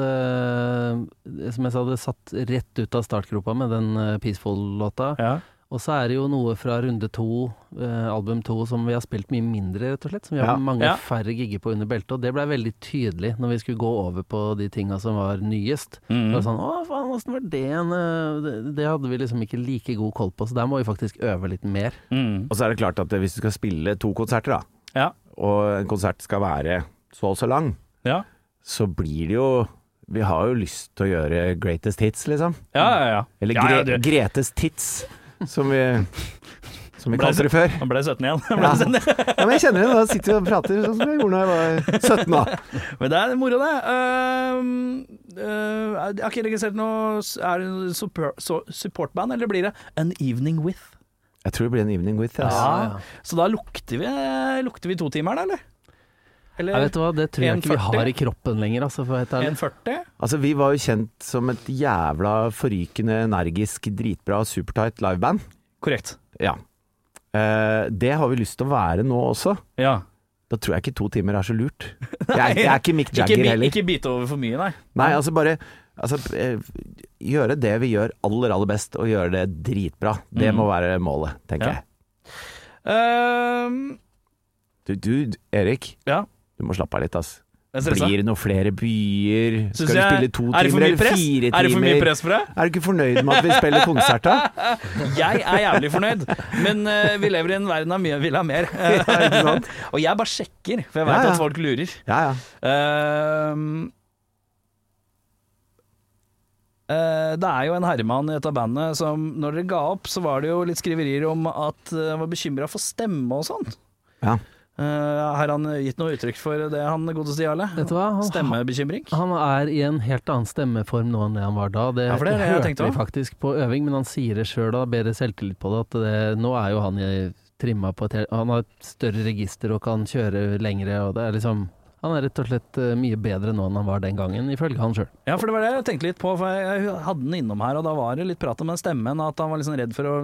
Speaker 3: eh, Som jeg sa, det satt rett ut av startgropa med den eh, Peaceful-låta.
Speaker 1: Ja.
Speaker 3: Og så er det jo noe fra runde to, eh, album to, som vi har spilt mye mindre, rett og slett. Som vi har
Speaker 2: Ja.
Speaker 3: mange
Speaker 1: Ja.
Speaker 3: færre gigger på under beltet. Og det blei veldig tydelig når vi skulle gå over på de tinga som var nyest. Det var sånn Å, faen, åssen var det en eh, det- Det hadde vi liksom ikke like god koll på, så der må vi faktisk øve litt mer.
Speaker 1: Mm.
Speaker 2: Og så er det klart at hvis du skal spille to konserter, da,
Speaker 1: Ja.
Speaker 2: og en konsert skal være så og så lang,
Speaker 1: Ja.
Speaker 2: så blir det jo Vi har jo lyst til å gjøre greatest hits, liksom.
Speaker 1: Ja, ja, ja.
Speaker 2: Eller
Speaker 1: ja,
Speaker 2: gre
Speaker 1: ja, du-
Speaker 2: Gretes tits, som vi, som vi
Speaker 1: Ble
Speaker 2: kalte det før.
Speaker 1: Nå (laughs) ble sånn? jeg 17 igjen.
Speaker 2: Ja. ja, men jeg kjenner det. Da sitter vi og prater sånn som jeg gjorde da jeg var 17, da.
Speaker 1: Men det er moro, det. Ehm, eh, jeg har ikke registrert noe Er det noe support- så- supportband, eller blir det An Evening With?
Speaker 2: Jeg tror det blir en evening with. ass.
Speaker 3: Ja, ja.
Speaker 1: Så da lukter vi, eh, lukter vi totimeren, eller? Eller
Speaker 3: Jeg vet du hva, det tror jeg ikke vi
Speaker 1: 1,40?
Speaker 3: har i kroppen lenger, altså, for å være helt ærlig.
Speaker 1: 1,40?
Speaker 2: Altså, vi var jo kjent som et jævla forrykende, energisk, dritbra, supertight liveband.
Speaker 1: Korrekt.
Speaker 2: Ja. Eh, det har vi lyst til å være nå også.
Speaker 1: Ja.
Speaker 2: Da tror jeg ikke to timer er så lurt. Jeg er, jeg er ikke Mick
Speaker 1: (laughs) Ikke,
Speaker 2: Jagger
Speaker 1: bi-
Speaker 2: heller.
Speaker 1: ikke bite over for mye, nei.
Speaker 2: Nei, altså bare altså, eh, Gjøre det vi gjør aller, aller best, og gjøre det dritbra. Det
Speaker 1: Mm.
Speaker 2: må være målet, tenker
Speaker 1: Ja.
Speaker 2: jeg.
Speaker 1: Ehm,
Speaker 2: Du, du, Erik.
Speaker 1: Ja.
Speaker 2: Du må slappe av litt, ass.
Speaker 1: jeg ser det
Speaker 2: Blir det noen flere byer?
Speaker 1: Synes
Speaker 2: Skal vi
Speaker 1: jeg-
Speaker 2: spille to
Speaker 1: er det for
Speaker 2: timer
Speaker 1: mye
Speaker 2: eller
Speaker 1: press?
Speaker 2: fire timer?
Speaker 1: Er det for mye press for deg?
Speaker 2: Er du ikke fornøyd med at vi
Speaker 1: (laughs)
Speaker 2: spiller konsert, da?
Speaker 1: Jeg er jævlig fornøyd, men eh, vi lever i en verden av mye vil ha mer.
Speaker 2: ikke sant?
Speaker 1: og jeg bare sjekker, for jeg
Speaker 2: Ja,
Speaker 1: veit
Speaker 2: ja.
Speaker 1: at folk lurer.
Speaker 2: (laughs) Ja, ja.
Speaker 1: Ehm, eh, det er jo en herremann i dette bandet som når dere ga opp, så var det jo litt skriverier om at eh, han var bekymra for stemme og sånn.
Speaker 2: Ja.
Speaker 1: Eh, har han gitt noe uttrykk for det, han godeste Jarle?
Speaker 3: Vet du hva? Han,
Speaker 1: Stemmebekymring?
Speaker 3: Han er i en helt annen stemmeform nå enn det han var da. Det,
Speaker 1: Ja, for det er det jeg
Speaker 3: hørte
Speaker 1: tenkte
Speaker 3: vi
Speaker 1: også.
Speaker 3: faktisk på øving, men han sier det sjøl og har bedre selvtillit på det. At det, nå er jo han i trimma på et helt Han har et større register og kan kjøre lengre, og det er liksom Han er rett og slett eh, mye bedre nå enn han var den gangen, ifølge han sjøl.
Speaker 1: Ja, for det var det jeg tenkte litt på, for jeg, jeg hadde den innom her, og da var det litt prat om den stemmen, at han var liksom redd for å,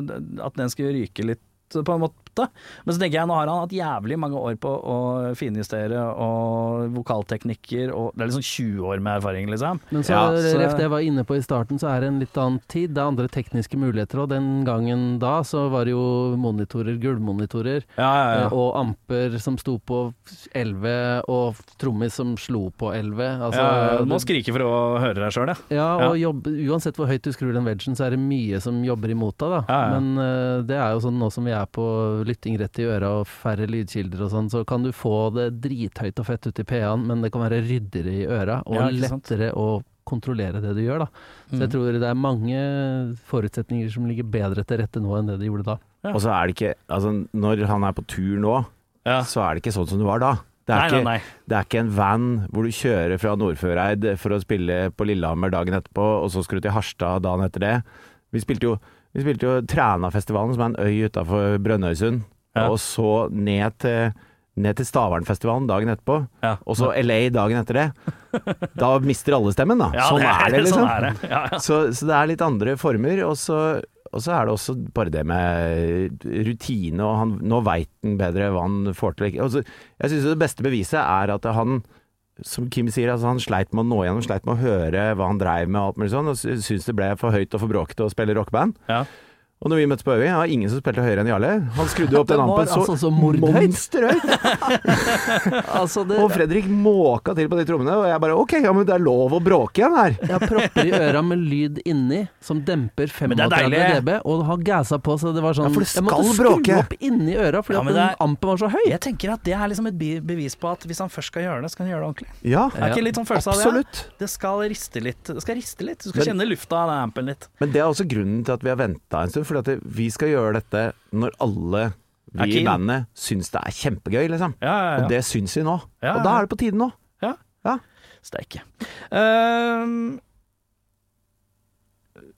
Speaker 1: at den skulle ryke litt, på en måte. Men så tenker jeg, nå har han hatt jævlig mange år på å finjustere, og vokalteknikker, og det er liksom 20 år med erfaring, liksom.
Speaker 3: Men så,
Speaker 2: Ja,
Speaker 1: så-
Speaker 3: Ref, det jeg var inne på i starten, så er det en litt annen tid. Det er andre tekniske muligheter, og den gangen da så var det jo monitorer, gulvmonitorer.
Speaker 1: Ja,
Speaker 3: Eh, Og amper som sto på 11, og trommis som slo på 11. Altså,
Speaker 1: Ja, du må
Speaker 3: det-
Speaker 1: skrike for å høre deg sjøl, ja.
Speaker 3: ja, og jobb, uansett hvor høyt du skrur den veggen, så er det mye som jobber imot deg. Da.
Speaker 1: Ja, ja.
Speaker 3: Men eh, det er jo sånn nå som vi er på lytting rett i øra og færre lydkilder og sånn, så kan du få det drithøyt og fett ut i PA-en, men det kan være ryddigere i øra, og
Speaker 1: Ja, ikke sant?
Speaker 3: lettere å kontrollere det du gjør. Da. Så jeg
Speaker 1: Mhm.
Speaker 3: tror det er mange forutsetninger som ligger bedre til rette nå enn det de gjorde da.
Speaker 1: Ja.
Speaker 2: Og så er det ikke Altså, når han er på tur nå,
Speaker 1: ja.
Speaker 2: så er det ikke sånn som det var da. Det er,
Speaker 1: Nei, nei,
Speaker 2: ikke,
Speaker 1: nei.
Speaker 2: det er ikke en van hvor du kjører fra Nordføreid for å spille på Lillehammer dagen etterpå, og så skal du til Harstad dagen etter det. Vi spilte jo, vi spilte jo Trænafestivalen, som er en øy utafor Brønnøysund,
Speaker 1: Ja.
Speaker 2: og så ned til, ned til Stavernfestivalen dagen etterpå,
Speaker 1: Ja.
Speaker 2: og så LA dagen etter det. Da mister alle stemmen, da. sånn er det,
Speaker 1: (laughs)
Speaker 2: liksom.
Speaker 1: Sånn er det. Ja, ja.
Speaker 2: (laughs) Så, så det er litt andre former, og så, og så er det også bare det med rutine, og altså, han, nå veit han bedre hva han får til. og ikke. Og så- Jeg syns det beste beviset er at han som Kim sier, altså han sleit med å nå gjennom, sleit med å høre hva han dreiv med og alt mulig sånn, og sy- syntes det ble for høyt og for bråkete å spille rockeband.
Speaker 1: Ja.
Speaker 2: Og når vi møttes på øving, det var ingen som spilte høyere enn Jarle. Han skrudde jo opp den
Speaker 3: Det var
Speaker 2: ampen så,
Speaker 3: altså så mordhøyt.
Speaker 2: monsterhøyt!
Speaker 3: Altså, det
Speaker 2: Og Fredrik måka til på de trommene, og jeg bare OK, ja, men det er lov å bråke igjen her.
Speaker 3: Jeg har propper i øra med lyd inni, som demper
Speaker 1: Men det er
Speaker 3: 35
Speaker 1: deilig.
Speaker 3: dB, og har gassa på, så det var sånn
Speaker 2: Ja, for det
Speaker 3: Jeg måtte
Speaker 2: skal
Speaker 3: skru
Speaker 2: bråke.
Speaker 3: opp inni øra, fordi
Speaker 1: Ja,
Speaker 3: at
Speaker 1: men
Speaker 3: den
Speaker 1: det er-
Speaker 3: ampen var så høy.
Speaker 1: Jeg tenker at det er liksom et be- bevis på at hvis han først skal gjøre det, så skal han gjøre det ordentlig.
Speaker 2: Ja,
Speaker 1: Er ikke litt sånn følelse av det?
Speaker 2: absolutt.
Speaker 1: Det skal riste litt. Det skal riste litt. Du skal
Speaker 2: Men-
Speaker 1: kjenne lufta av den ampen litt.
Speaker 2: Men det er også grunnen til at vi har venta en stund, for at det- vi skal gjøre dette når alle
Speaker 1: Er
Speaker 2: vi i
Speaker 1: keen.
Speaker 2: bandet syns det er kjempegøy, liksom.
Speaker 1: Ja, ja,
Speaker 2: Og
Speaker 1: ja.
Speaker 2: det syns vi nå.
Speaker 1: Ja,
Speaker 2: Og
Speaker 1: ja.
Speaker 2: da er det på tide nå.
Speaker 1: Steike. Ehm. (laughs)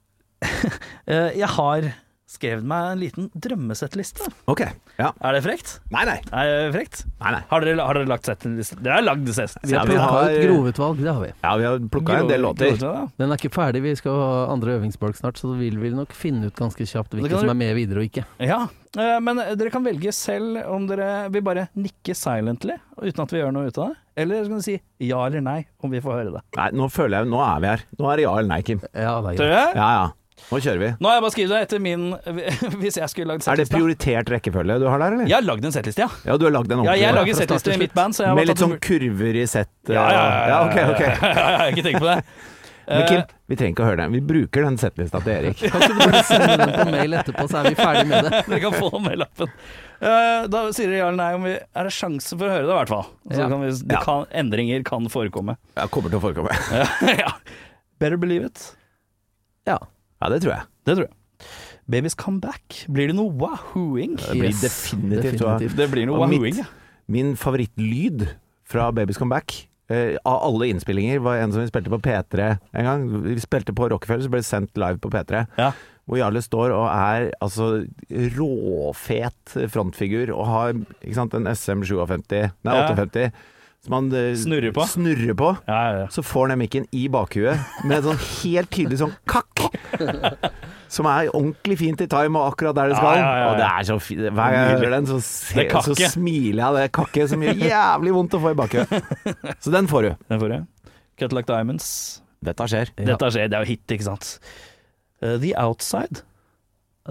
Speaker 1: Eh, jeg har skrevet meg en liten drømmesettliste.
Speaker 2: Ok. Ja.
Speaker 1: Er det frekt?
Speaker 2: Nei, nei.
Speaker 1: Er det frekt?
Speaker 2: nei, nei.
Speaker 1: Har dere, har dere lagt settliste? Dere har lagd sett.
Speaker 3: Vi
Speaker 2: Ja,
Speaker 3: har
Speaker 2: vi
Speaker 3: plukka
Speaker 2: har-
Speaker 3: ut grovutvalg, det har vi.
Speaker 2: Ja, vi har plukka en del låter.
Speaker 3: Den er ikke ferdig, vi skal ha andre øvingsbolk snart, så da vil vi nok finne ut ganske kjapt
Speaker 1: Det
Speaker 3: hvilke
Speaker 1: kan
Speaker 3: som
Speaker 1: du-
Speaker 3: er med videre og ikke.
Speaker 1: Ja, eh, men dere kan velge selv om dere vil bare nikke silently uten at vi gjør noe ut av det. Eller så kan du si ja eller nei om vi får høre det.
Speaker 2: Nei, nå føler jeg Nå er vi her. Nå er det ja eller nei, Kim.
Speaker 3: Ja, det er
Speaker 1: Tror
Speaker 3: greit.
Speaker 1: jeg?
Speaker 2: Ja ja. Nå kjører vi.
Speaker 1: Nå har jeg bare skrevet det etter min (laughs) Hvis jeg skulle lagd
Speaker 2: Er det
Speaker 1: settliste.
Speaker 2: prioritert rekkefølge du har der, eller?
Speaker 1: Jeg har lagd en settliste, ja.
Speaker 2: Ja, du har lagd en
Speaker 1: ja
Speaker 2: ordentlig
Speaker 1: jeg
Speaker 2: en.
Speaker 1: lager
Speaker 3: fra start
Speaker 1: settliste
Speaker 3: til
Speaker 1: i mitt band, så jeg har
Speaker 2: Med
Speaker 1: bare
Speaker 2: litt
Speaker 1: tatt
Speaker 2: sånn kurver i sett. eh,
Speaker 1: ja, ja, ja,
Speaker 2: og- ja, ok, ok.
Speaker 1: Jeg har ikke tenkt på det.
Speaker 2: (laughs) Men
Speaker 1: Eh,
Speaker 2: Kim, vi trenger ikke å høre den. Vi bruker den settlista til Erik.
Speaker 3: Kan ikke du bare sende den på mail etterpå, så er vi ferdig med
Speaker 1: (laughs)
Speaker 3: det.
Speaker 1: Eh, Dere kan få med lappen. Eh, da sier dere ja eller nei om vi Er det sjanse for å høre det, i hvert fall. Så
Speaker 3: Ja.
Speaker 1: kan vi, det
Speaker 2: Ja.
Speaker 1: kan, endringer kan forekomme. (laughs)
Speaker 2: Ja, kommer til å forekomme.
Speaker 1: ja. Better believe it.
Speaker 3: Ja.
Speaker 2: Ja, det tror jeg.
Speaker 1: Det tror jeg. Babies comeback. Blir det noe wahooing?
Speaker 2: Det blir
Speaker 3: Yes,
Speaker 2: definitivt, tror jeg.
Speaker 3: definitivt.
Speaker 1: Det blir noe
Speaker 2: Og mitt-
Speaker 1: wahooing, ja.
Speaker 2: Min favorittlyd fra Babies Comeback eh, av alle innspillinger var en som vi spilte på P3 en gang. Vi spilte på Rockefeller, så ble det sendt live på P3.
Speaker 1: Ja.
Speaker 2: Hvor Jarle står og er altså råfet frontfigur og har ikke sant, en SM 57, nei
Speaker 1: Ja.
Speaker 2: 58, som han eh,
Speaker 1: Snurrer på.
Speaker 2: snurrer på.
Speaker 1: Ja, ja, ja.
Speaker 2: Så får han den mikken i bakhuet med en sånn helt tydelig sånn kakk. Som er ordentlig fint i time og akkurat der det skal.
Speaker 1: Ja, ja, ja, ja.
Speaker 2: Og det er så fint. Hver gang jeg hører den, så, ser,
Speaker 1: Det er kakke.
Speaker 2: så smiler jeg av det kakket som gjør jævlig vondt å få i bakhuet. Så den får du.
Speaker 1: Den forrige. Cut like diamonds.
Speaker 2: Dette skjer.
Speaker 3: Ja.
Speaker 1: Dette skjer, det er jo hit, ikke sant. Eh, The Outside.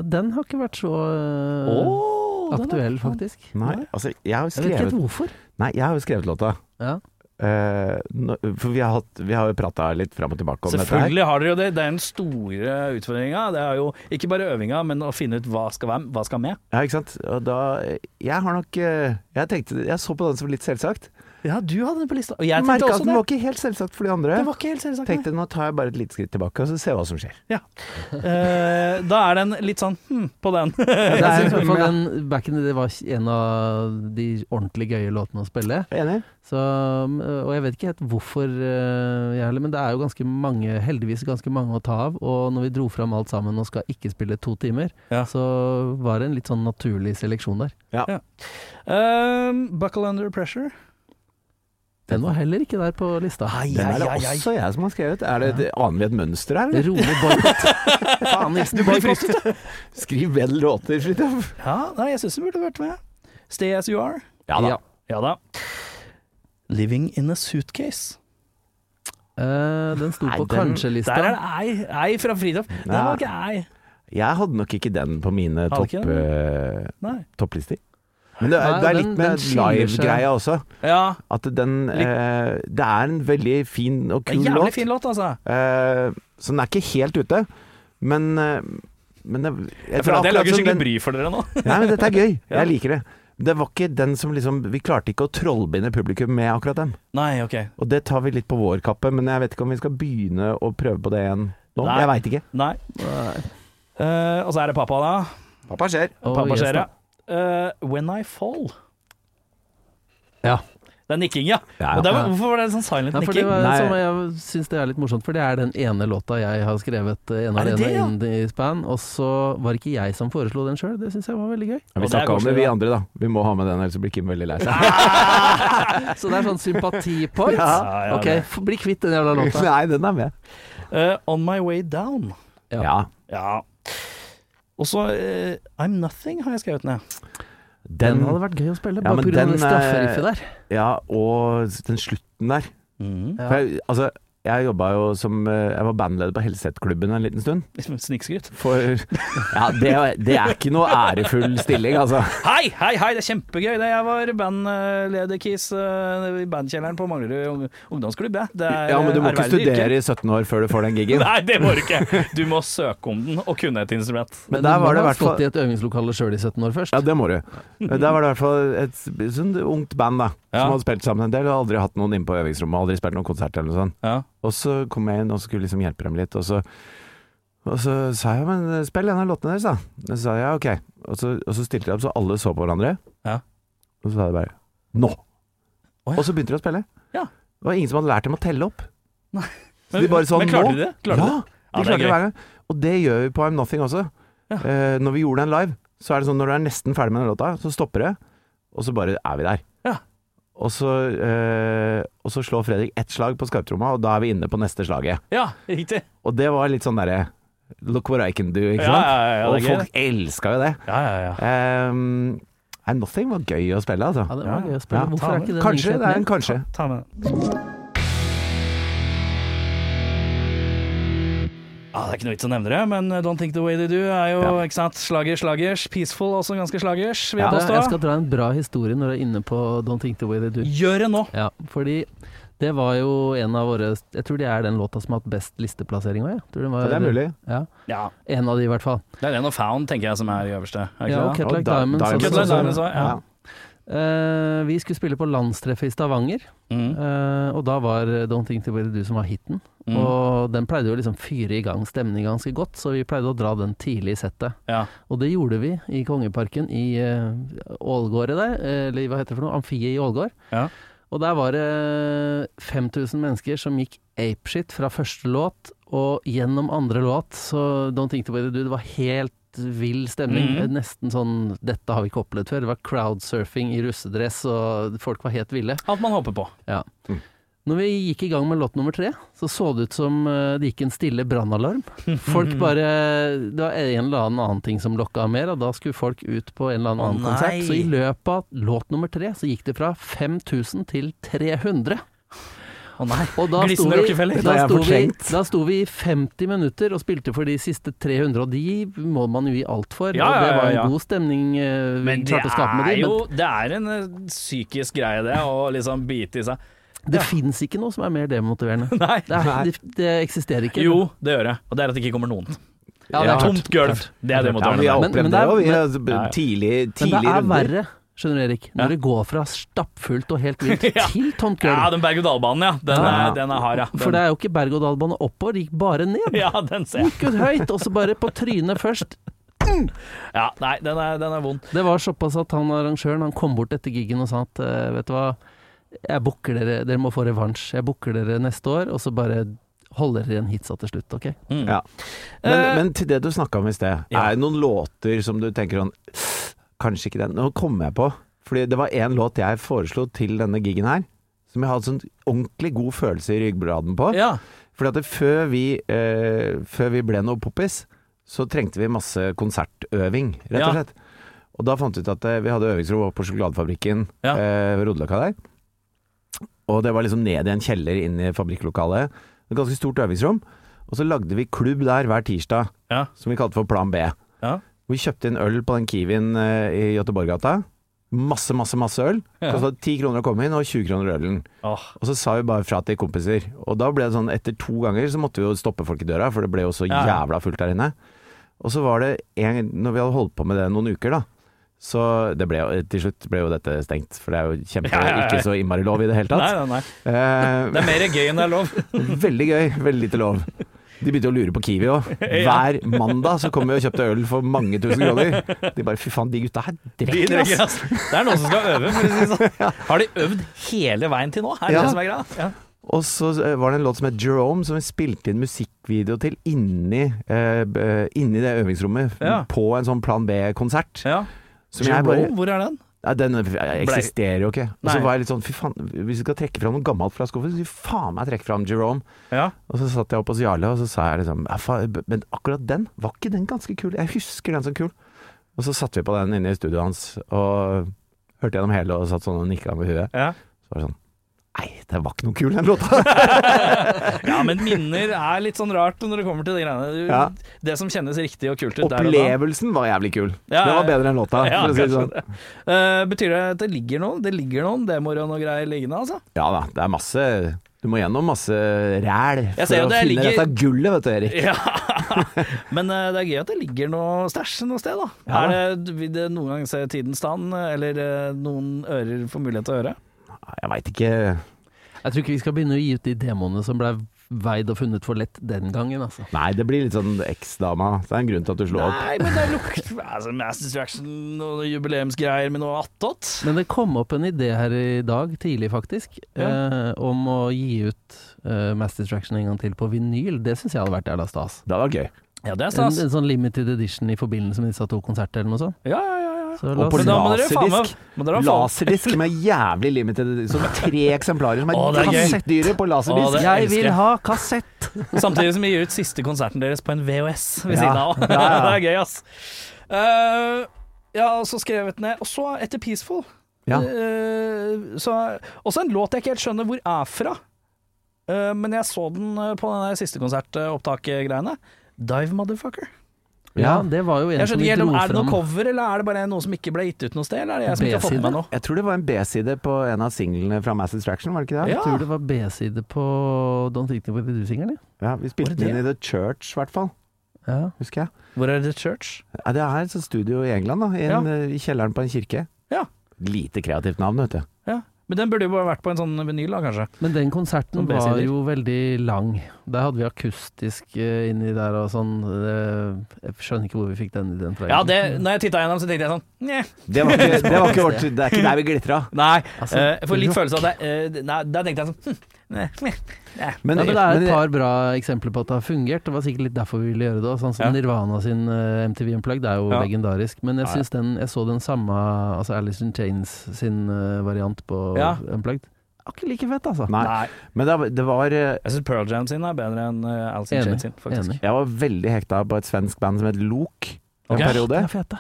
Speaker 3: Den har ikke vært så øh,
Speaker 1: Åh, den er-
Speaker 3: aktuell, faktisk.
Speaker 2: Nei, altså, jeg har jo
Speaker 3: Jeg vet ikke
Speaker 2: skrevet,
Speaker 3: helt hvorfor.
Speaker 2: nei, jeg har jo skrevet låta.
Speaker 3: Ja.
Speaker 2: Eh, nå- for vi har, hatt, vi har jo prata litt fram og tilbake om dette her.
Speaker 1: Selvfølgelig har dere jo det. Det er den store utfordringa. Det er jo ikke bare øvinga, men å finne ut hva skal være hva skal med.
Speaker 2: Ja, ikke sant? Og da, jeg har nok eh, jeg, tenkte, jeg så på den som litt selvsagt.
Speaker 1: Ja, du hadde den på lista. Og jeg tenkte
Speaker 2: Merka at
Speaker 1: også
Speaker 2: den
Speaker 1: det.
Speaker 2: var ikke helt selvsagt for de andre.
Speaker 1: Det var ikke helt selvsagt. nei.
Speaker 2: tenkte nå tar jeg bare et lite skritt tilbake og så ser jeg hva som skjer.
Speaker 1: Ja. Eh, da er den litt sånn hm på den. (laughs)
Speaker 3: Jeg
Speaker 2: er-
Speaker 3: synes i hvert fall den Back in the Day var en av de ordentlig gøye låtene å spille.
Speaker 2: Enig?
Speaker 3: Så, um, og jeg vet ikke helt hvorfor, eh, jeg heller, men det er jo ganske mange, heldigvis ganske mange å ta av. Og når vi dro fram alt sammen og skal ikke spille to timer,
Speaker 1: Ja.
Speaker 3: så var det en litt sånn naturlig seleksjon der.
Speaker 1: Eh, buckle under pressure.
Speaker 3: Den var heller ikke der på lista.
Speaker 2: Den er det
Speaker 1: ai, ai.
Speaker 2: også jeg som har skrevet. Er det, det aner vi et mønster her, eller?
Speaker 3: Rolig boikott. Faen, Nilsen. boikott.
Speaker 2: Skriv bedre låter, Fridtjof.
Speaker 1: Ja, nei, jeg syns den burde vært med. Stay as you are.
Speaker 2: Ja da.
Speaker 3: Ja.
Speaker 1: Ja da. Living in a suitcase.
Speaker 3: Eh, den sto
Speaker 2: Nei,
Speaker 3: på
Speaker 2: den-
Speaker 3: kanskje-lista.
Speaker 1: Der er det ei. Ei fra Fridtjof. Det
Speaker 2: Ja.
Speaker 1: var ikke ei.
Speaker 2: Jeg hadde nok ikke den på mine
Speaker 1: Hadde
Speaker 2: topp,
Speaker 1: ikke
Speaker 2: eh,
Speaker 1: Nei.
Speaker 2: topplister. Men det, er-
Speaker 3: Nei,
Speaker 2: det er
Speaker 3: den-
Speaker 2: litt
Speaker 3: den
Speaker 2: med
Speaker 3: skiller
Speaker 2: live-greia også.
Speaker 1: Ja.
Speaker 2: At den eh, Det er en veldig fin og
Speaker 1: det er en
Speaker 2: kul
Speaker 1: Jævlig
Speaker 2: låt.
Speaker 1: fin låt, altså.
Speaker 2: Eh, så den er ikke helt ute. Men, eh, men det,
Speaker 1: Jeg føler at jeg lager
Speaker 2: akkurat som den-
Speaker 1: skikkelig bry for dere nå.
Speaker 2: Nei, men dette er (laughs) gøy.
Speaker 1: Ja.
Speaker 2: Jeg liker det. Det var ikke den som liksom Vi klarte ikke å trollbinde publikum med akkurat den.
Speaker 1: Nei, ok.
Speaker 2: Og det tar vi litt på vår kappe, men jeg vet ikke om vi skal begynne å prøve på det igjen nå.
Speaker 1: Nei.
Speaker 2: Jeg veit ikke.
Speaker 1: Nei. Eh, og så er det pappa, da.
Speaker 2: Pappa skjer.
Speaker 3: Oh,
Speaker 1: pappa
Speaker 3: yes,
Speaker 1: skjer,
Speaker 3: da.
Speaker 1: ja. Eh, When I Fall.
Speaker 3: Ja.
Speaker 1: Det er nikking, ja.
Speaker 2: Ja, ja.
Speaker 1: Og det var, hvorfor var det sånn silent
Speaker 3: Nei, for det
Speaker 1: nikking?
Speaker 3: var,
Speaker 2: Nei.
Speaker 3: som jeg syns det er litt morsomt, for det er den ene låta jeg har skrevet eh, ene
Speaker 1: Er det
Speaker 3: alene
Speaker 1: det, ja?
Speaker 3: inn i span, og så var det ikke jeg som foreslo den sjøl. Det syns jeg var veldig gøy.
Speaker 1: Og
Speaker 2: Vi
Speaker 1: det er
Speaker 2: snakka om det,
Speaker 1: koselig,
Speaker 2: vi
Speaker 1: da.
Speaker 2: andre, da. Vi må ha med den, ellers blir Kim veldig lei
Speaker 1: (laughs)
Speaker 2: seg.
Speaker 3: (laughs) Så det er sånn sympatipoint.
Speaker 1: Ja, ja,
Speaker 3: ok,
Speaker 1: det.
Speaker 3: f- bli kvitt den jævla
Speaker 2: (laughs)
Speaker 3: låta.
Speaker 2: Nei, den er med.
Speaker 1: Eh, on My Way Down.
Speaker 3: Ja.
Speaker 2: Ja.
Speaker 1: Ja. Og så eh, I'm Nothing har jeg skrevet ned.
Speaker 3: Den
Speaker 2: Den,
Speaker 3: hadde vært gøy å spille,
Speaker 2: Ja,
Speaker 3: bare
Speaker 2: men
Speaker 3: pga.
Speaker 2: den, eh,
Speaker 3: det strafferiffet der.
Speaker 2: ja, og den slutten der.
Speaker 1: Mm.
Speaker 3: Ja.
Speaker 2: For jeg, altså, jeg jobba jo som eh, Jeg var bandleder på Helset-klubben en liten stund.
Speaker 1: (laughs) Snikskryt.
Speaker 2: (laughs) For Ja, det, det er ikke noe ærefull stilling, altså.
Speaker 1: Hei, hei, hei, det er kjempegøy! Det jeg var bandlederkis eh, i bandkjelleren på Manglerud ung- ungdomsklubb, jeg. Det er eh,
Speaker 2: Ja, men du må ikke
Speaker 1: ærverdig yrke.
Speaker 2: studere i 17 år før du får den
Speaker 1: (laughs)
Speaker 2: gigen.
Speaker 1: Nei, det må du ikke! Du må søke om den og kunne et instrument.
Speaker 2: Men der var det i hvert fall
Speaker 3: Stått i et øvingslokale sjøl i 17 år først.
Speaker 2: Ja, det må du. Der var det i hvert fall et sånn ungt band da
Speaker 1: Ja.
Speaker 2: som hadde spilt sammen en del, og aldri hatt noen inne på øvingsrommet, aldri spilt noen konsert eller noe sånt.
Speaker 1: Ja.
Speaker 2: Og så kom jeg inn og skulle liksom hjelpe dem litt, og så, og så sa jeg men spill en av låtene deres, da. Og så sa jeg ok. Og så, og så stilte jeg opp, så alle så på hverandre.
Speaker 1: Ja.
Speaker 2: Og så sa jeg bare nå!
Speaker 1: Å, ja.
Speaker 2: Og så begynte de å spille.
Speaker 1: Ja.
Speaker 2: Det var ingen som hadde lært dem å telle opp.
Speaker 1: Men,
Speaker 2: de bare sånn,
Speaker 1: men klarte
Speaker 2: nå?
Speaker 1: de det? Klarte de
Speaker 2: ja,
Speaker 1: det?
Speaker 2: de
Speaker 1: Ja, det er
Speaker 2: klarte det
Speaker 1: gøy.
Speaker 2: hver gang. Og det gjør vi på I'm Nothing også.
Speaker 1: Ja.
Speaker 2: Eh, når vi gjorde den live, så er det sånn når du er nesten ferdig med den låta, så stopper det, og så bare er vi der.
Speaker 1: Ja.
Speaker 2: Og så, eh, og så slår Fredrik ett slag på skarptromma, og da er vi inne på neste slaget.
Speaker 1: Ja, riktig.
Speaker 2: Og det var litt sånn derre Look what I can do, ikke
Speaker 1: Ja,
Speaker 2: sant?
Speaker 1: ja, ja,
Speaker 2: og
Speaker 1: det er gøy,
Speaker 2: folk elska jo det.
Speaker 1: Ja, ja, ja.
Speaker 2: Um, I'm Nothing var gøy å spille, altså.
Speaker 3: Ja, det var
Speaker 1: Ja.
Speaker 3: gøy å spille.
Speaker 2: Ja,
Speaker 3: Hvorfor
Speaker 1: ta
Speaker 3: er ikke den
Speaker 2: Kanskje.
Speaker 3: innsett
Speaker 2: Det er
Speaker 3: mer?
Speaker 2: en kanskje.
Speaker 1: Ta med den. Ja, det er ikke noe vits å nevne det, men Don't Think The Way They Do er jo
Speaker 2: Ja.
Speaker 1: ikke sant, slager, slagers. Peaceful også ganske slagers, vil
Speaker 2: Ja.
Speaker 1: jeg
Speaker 3: Ja, jeg
Speaker 1: påstå.
Speaker 3: skal dra en bra historie når jeg er inne på Don't Think The Way They Do.
Speaker 1: Gjør det nå!
Speaker 3: Ja, fordi det var jo en av våre Jeg tror det er den låta som har hatt best listeplassering òg, jeg. Tror den
Speaker 2: Ja,
Speaker 3: var,
Speaker 2: det er mulig.
Speaker 3: Ja,
Speaker 1: Ja,
Speaker 3: en av de, i hvert fall.
Speaker 1: Det er den og Found, tenker jeg, som er i øverste. Er ikke
Speaker 3: Ja,
Speaker 1: det?
Speaker 3: Cat
Speaker 2: Og
Speaker 3: Like
Speaker 2: da-
Speaker 3: Diamonds.
Speaker 2: Diamonds
Speaker 3: også.
Speaker 1: Cat Like Diamonds også, ja.
Speaker 3: Eh, vi skulle spille på landstreffet i Stavanger,
Speaker 1: Mm.
Speaker 3: eh, og da var Don't Think The Way They Do som var hiten.
Speaker 1: Mm.
Speaker 3: Og den pleide jo liksom fyre i gang stemningen ganske godt, så vi pleide å dra den tidlig i settet.
Speaker 1: ja.
Speaker 3: Og det gjorde vi i Kongeparken i eh, Ålgårdet der, eller hva heter det for noe, amfiet i Ålgård.
Speaker 1: Ja.
Speaker 3: Og der var det 5000 mennesker som gikk apeshit fra første låt og gjennom andre låt, så Don't Think About It Dude var helt vill stemning.
Speaker 1: Mhm.
Speaker 3: Nesten sånn 'dette har vi ikke opplevd før'. Det var crowdsurfing i russedress, og folk var helt ville.
Speaker 1: Alt man håper på.
Speaker 3: Når vi gikk i gang med låt nummer tre, så så det ut som eh, det gikk en stille brannalarm.
Speaker 1: (laughs)
Speaker 3: Folk bare Det var en eller annen annen ting som lokka mer, og da skulle folk ut på en eller annen,
Speaker 1: Å,
Speaker 3: annen
Speaker 1: nei.
Speaker 3: konsert. Så i løpet av låt nummer tre så gikk det fra 5000 til 300.
Speaker 1: Å nei.
Speaker 3: Og da sto,
Speaker 1: Glissende
Speaker 3: vi,
Speaker 1: Rockefeller.
Speaker 3: da,
Speaker 2: Dette er
Speaker 3: sto vi,
Speaker 2: fortrengt.
Speaker 3: da sto vi i 50 minutter og spilte for de siste 300, og de må man jo gi alt for.
Speaker 1: Ja,
Speaker 3: og
Speaker 1: ja,
Speaker 3: det
Speaker 1: ja,
Speaker 3: var en
Speaker 1: ja.
Speaker 3: god stemning eh, vi
Speaker 1: Men det
Speaker 3: klarte å skape med
Speaker 1: er
Speaker 3: de,
Speaker 1: jo Det er en eh, psykisk greie, det, å liksom bite i seg.
Speaker 3: men det fins ikke noe som er mer
Speaker 1: (laughs)
Speaker 3: demotiverende.
Speaker 1: Nei.
Speaker 3: Det, er, det, det eksisterer ikke.
Speaker 1: Jo, det gjør jeg. Og det er at det ikke kommer noen.
Speaker 3: Ja, det
Speaker 2: Ja.
Speaker 3: er klart.
Speaker 1: Tomt gulv. Det er det
Speaker 2: Ja, men vi har
Speaker 1: motiverende.
Speaker 3: Men-
Speaker 2: opplevd
Speaker 3: men det
Speaker 2: det
Speaker 3: er-
Speaker 2: òg, vi.
Speaker 3: men-
Speaker 2: altså,
Speaker 1: Ja, ja.
Speaker 2: Tidlig,
Speaker 3: Men det
Speaker 2: tidlig
Speaker 3: er
Speaker 2: runder.
Speaker 3: verre, skjønner du Erik, når
Speaker 1: Ja.
Speaker 3: det går fra stappfullt og helt
Speaker 1: (laughs)
Speaker 3: vilt
Speaker 1: Ja.
Speaker 3: til tomt
Speaker 1: Ja,
Speaker 3: gulv.
Speaker 1: den berg-og-dal-banen, ja. Den er,
Speaker 2: Ja.
Speaker 1: den er hard, ja. Den,
Speaker 3: For det er jo ikke berg-og-dal-bane oppover, det gikk bare ned. (laughs)
Speaker 1: ja, den (laughs) ser jeg.
Speaker 3: Gikk ut høyt, og så bare på trynet først.
Speaker 1: Ja, nei, den er, den er vond.
Speaker 3: Det var såpass at han arrangøren han kom bort etter giggen og sa at eh, vet du hva, jeg booker dere, dere må få revansj. Jeg booker dere neste år, og så bare holder dere igjen hitsa til slutt, ok?
Speaker 1: Mm.
Speaker 2: Ja. Men,
Speaker 1: Eh,
Speaker 2: men til det du snakka om i sted,
Speaker 1: Ja.
Speaker 2: er det noen låter som du tenker sånn Kanskje ikke den. Nå kommer jeg på. Fordi det var én låt jeg foreslo til denne gigen her, som jeg hadde sånn ordentlig god følelse i ryggbladen på.
Speaker 1: ja.
Speaker 2: Fordi at det, før, vi, eh, før vi ble noe poppis, så trengte vi masse konsertøving, rett
Speaker 1: Ja.
Speaker 2: og slett. Og da fant vi ut at eh, vi hadde øvingsrom oppe på sjokoladefabrikken
Speaker 1: Ja.
Speaker 2: eh, ved Rodeløkka der. Og det var liksom ned i en kjeller inn i fabrikklokalet. Et ganske stort øvingsrom. Og så lagde vi klubb der hver tirsdag,
Speaker 1: Ja.
Speaker 2: som vi kalte for Plan B.
Speaker 1: Ja.
Speaker 2: Vi kjøpte inn øl på den Kiwien eh, i Göteborggata. Masse, masse, masse øl.
Speaker 1: Ja.
Speaker 2: Kostet 10 kroner å komme inn, og 20 kroner ølen.
Speaker 1: Åh,
Speaker 2: Og så sa vi bare fra til kompiser. Og da ble det sånn, etter to ganger så måtte vi jo stoppe folk i døra, for det ble jo så
Speaker 1: Ja.
Speaker 2: jævla fullt der inne. Og så var det en Når vi hadde holdt på med det noen uker, da. Så det ble jo, til slutt ble jo dette stengt, for det er jo kjempe
Speaker 1: Ja, ja, ja.
Speaker 2: ikke så innmari lov i det
Speaker 1: Nei,
Speaker 2: hele
Speaker 1: nei,
Speaker 2: tatt.
Speaker 1: nei. Det
Speaker 2: Eh,
Speaker 1: er mer gøy enn det er lov.
Speaker 2: veldig gøy, veldig lite lov. De begynte å lure på Kiwi
Speaker 1: (laughs)
Speaker 2: òg. Hver mandag så kom vi og kjøpte øl for mange tusen kroner. De bare fy faen, de gutta her (laughs)
Speaker 1: De
Speaker 2: drikker,
Speaker 1: drikker,
Speaker 2: ass.
Speaker 1: ass. Det er noen som skal øve, for å si det sånn. Har de øvd hele veien til nå? Er det
Speaker 2: Ja.
Speaker 1: det som er greia? Ja.
Speaker 2: Og så eh, var det en låt som het Jerome, som vi spilte inn musikkvideo til inni, eh, b- eh, inni det øvingsrommet.
Speaker 1: Ja.
Speaker 2: På en sånn Plan B-konsert.
Speaker 1: Ja.
Speaker 2: Som jeg bare-
Speaker 1: Jerome, hvor er den?
Speaker 2: Ja, den eh, eksisterer jo ikke. Og
Speaker 1: Nei.
Speaker 2: så var jeg litt sånn fy faen, hvis vi skal trekke fram noe gammelt fra skuffen, så skal vi faen meg trekke fram Jerome.
Speaker 1: Ja.
Speaker 2: Og så satt jeg oppe hos Jarle, og så sa jeg liksom "Ja, faen, b- Men akkurat den, var ikke den ganske kul? Jeg husker den som kul. Og så satte vi på den inne i studioet hans, og hørte gjennom hele og satt sånn og nikka med huet.
Speaker 1: Ja.
Speaker 2: Så var det sånn Nei, det var ikke noe kul den låta.
Speaker 1: Ja, men minner er litt sånn rart når det kommer til de greiene. Du,
Speaker 2: Ja.
Speaker 1: Det som kjennes riktig og kult ut der og da.
Speaker 2: Opplevelsen var jævlig kul.
Speaker 1: Ja,
Speaker 2: det var bedre enn låta.
Speaker 1: Ja,
Speaker 2: for å si det
Speaker 1: kanskje
Speaker 2: sånn.
Speaker 1: det. Eh, betyr det at det ligger noen Det ligger noen demoer og noe greier liggende, altså?
Speaker 2: ja da, det er masse Du må gjennom masse ræl for å
Speaker 1: ser jo
Speaker 2: finne
Speaker 1: det ligger-
Speaker 2: dette gullet, vet du, Erik.
Speaker 1: Ja. (laughs) Men eh, det er gøy at det ligger noe stæsj noe sted, da.
Speaker 2: Ja,
Speaker 1: er det, vil det noen gang se tidens tann, eller eh, noen ører får mulighet til å høre?
Speaker 2: Jeg veit ikke
Speaker 3: Jeg tror ikke vi skal begynne å gi ut de demoene som ble veid og funnet for lett den gangen, altså.
Speaker 2: Nei, det blir litt sånn eksdama. Det er en grunn til at du slo opp.
Speaker 1: Nei, men det lukter altså, Mass Distraction og jubileumsgreier med noe attåt.
Speaker 3: Men det kom opp en idé her i dag, tidlig faktisk, eh, om å gi ut eh, Mass Distraction en gang til på vinyl. Det syns jeg hadde vært jævla stas.
Speaker 2: Det var gøy.
Speaker 1: Ja, det er
Speaker 3: En,
Speaker 1: stas.
Speaker 3: en sånn limited edition i forbindelse med disse to konserter eller noe sånt.
Speaker 1: Ja, ja, ja. ja.
Speaker 3: Så
Speaker 2: Og
Speaker 3: la
Speaker 2: på
Speaker 3: oss,
Speaker 1: Men da må dere faen meg må dere ha faen-
Speaker 2: Laserdisk med jævlig limited Som tre eksemplarer som er,
Speaker 1: Å, det er gøy.
Speaker 2: kassettdyre på
Speaker 1: Å, det Jeg
Speaker 2: laserdisk.
Speaker 1: vil elsker jeg.
Speaker 3: ha kassett!
Speaker 1: Samtidig som vi gir ut siste konserten deres på en VHS ved
Speaker 2: Ja.
Speaker 1: siden av.
Speaker 2: Ja, ja.
Speaker 1: (laughs) det er gøy, ass. Eh, jeg har også skrevet ned Og så etter Peaceful.
Speaker 2: Ja.
Speaker 1: Eh, så, også en låt jeg ikke helt skjønner hvor er fra. Eh, men jeg så den eh, på den der siste konsertopptak-greiene. Dive Motherfucker.
Speaker 3: Ja, det var jo en
Speaker 1: Jeg
Speaker 3: som
Speaker 1: skjønner
Speaker 3: vi
Speaker 1: ikke helt
Speaker 3: dro
Speaker 1: om Er det noe
Speaker 3: fram.
Speaker 1: cover, eller er det bare noe som ikke ble gitt ut noe sted? Eller er det jeg som ikke har fått med meg noe?
Speaker 2: Jeg tror det var en B-side på en av singlene fra Mass Distraction, var det ikke det?
Speaker 1: Ja.
Speaker 3: Jeg tror det var B-side på Don't Think About It-singelen.
Speaker 2: Ja, vi spilte
Speaker 1: Var det
Speaker 2: den inn i The Church, i hvert fall.
Speaker 3: Ja.
Speaker 2: Husker jeg.
Speaker 1: Hvor er The Church?
Speaker 2: Ja, det er et sånt studio i England, da. I, en,
Speaker 1: Ja.
Speaker 2: eh, I kjelleren på en kirke.
Speaker 1: Ja.
Speaker 2: Lite kreativt navn, vet du.
Speaker 1: Ja. Men den burde jo bare vært på en sånn vinyl, da, kanskje.
Speaker 3: Men den
Speaker 1: Som
Speaker 3: konserten
Speaker 1: B-sider.
Speaker 3: var jo veldig lang. Der hadde vi akustisk eh, inni der og sånn. Det- Jeg skjønner ikke hvor vi fikk den ideen fra.
Speaker 1: Ja, det,
Speaker 3: egentlig.
Speaker 1: når jeg titta gjennom, så tenkte jeg sånn Nja.
Speaker 2: Det var ikke, det var ikke vårt Det er ikke der vi glitra.
Speaker 1: Nei.
Speaker 3: Altså,
Speaker 1: Eh, jeg får litt
Speaker 3: rock.
Speaker 1: følelse av at jeg, eh, Nei, der tenkte jeg sånn hm, nei, nei, nei.
Speaker 2: Men,
Speaker 3: ja, men det er
Speaker 2: men-
Speaker 3: et par bra eksempler på at det har fungert. Det var sikkert litt derfor vi ville gjøre det. også. Sånn som
Speaker 1: Ja.
Speaker 3: Nirvana sin eh, MTV Unplugged er jo
Speaker 1: Ja.
Speaker 3: legendarisk. Men jeg
Speaker 2: Ja, ja.
Speaker 3: synes den, jeg så den samme altså Alice in Chains sin eh, variant på
Speaker 1: Ja.
Speaker 3: Unplugged. Akkurat like fett, altså.
Speaker 2: Nei.
Speaker 1: Nei.
Speaker 2: Men det, var- det var eh,
Speaker 1: Jeg syns Pearl Jam sin er bedre enn eh, Alice in
Speaker 3: Enig.
Speaker 1: Chains sin, faktisk.
Speaker 3: Enig.
Speaker 2: Jeg var veldig hekta på et svensk band som het Lok en
Speaker 1: Ok.
Speaker 2: periode.
Speaker 3: Det er fett, da.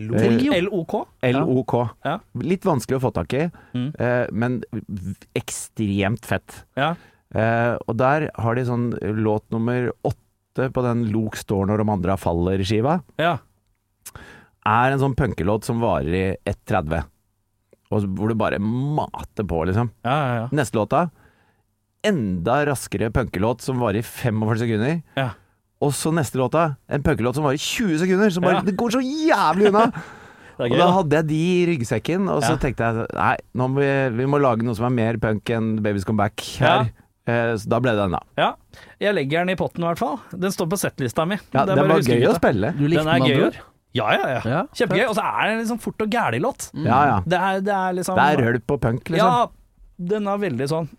Speaker 2: Eh,
Speaker 1: LOK.
Speaker 2: LOK.
Speaker 1: Ja.
Speaker 2: Litt vanskelig å få tak i,
Speaker 1: Mm.
Speaker 2: eh, men v- ekstremt fett.
Speaker 1: Ja.
Speaker 2: Eh, og der har de sånn låt nummer åtte på den Lok står når de andre faller-skiva.
Speaker 1: Ja.
Speaker 2: Er en sånn punkelåt som varer i 1,30. Og hvor du bare mater på, liksom.
Speaker 1: Ja, ja, ja.
Speaker 2: Neste låta Enda raskere punkelåt som varer i 45 sekunder.
Speaker 1: Ja.
Speaker 2: Og så neste låta, en punkelåt som varer i 20 sekunder. Som bare,
Speaker 1: Ja.
Speaker 2: Det går så jævlig unna!
Speaker 1: (laughs) Det er
Speaker 2: Og
Speaker 1: gøy,
Speaker 2: da
Speaker 1: da.
Speaker 2: hadde jeg de i ryggsekken, og så
Speaker 1: Ja.
Speaker 2: tenkte jeg nei, nå må vi, vi må lage noe som er mer punk enn Babies Come Back her. Eh, så da ble det den, da.
Speaker 1: Ja. Jeg legger den i potten, i hvert fall. Den står på settlista mi. Det
Speaker 2: Ja,
Speaker 1: er
Speaker 2: den
Speaker 1: bare
Speaker 2: var
Speaker 1: huskegutta.
Speaker 2: gøy altså. å spille.
Speaker 3: Du likte
Speaker 1: Den er
Speaker 3: den
Speaker 1: gøy.
Speaker 3: andre ord?
Speaker 1: Ja, ja, ja.
Speaker 2: (laughs)
Speaker 3: Ja, Mm.
Speaker 1: Kjempegøy. Og så er det en liksom fort og gæli låt.
Speaker 2: Ja, ja.
Speaker 1: Det er, det er liksom
Speaker 2: Det er rølp og punk, liksom.
Speaker 1: Ja, den er veldig sånn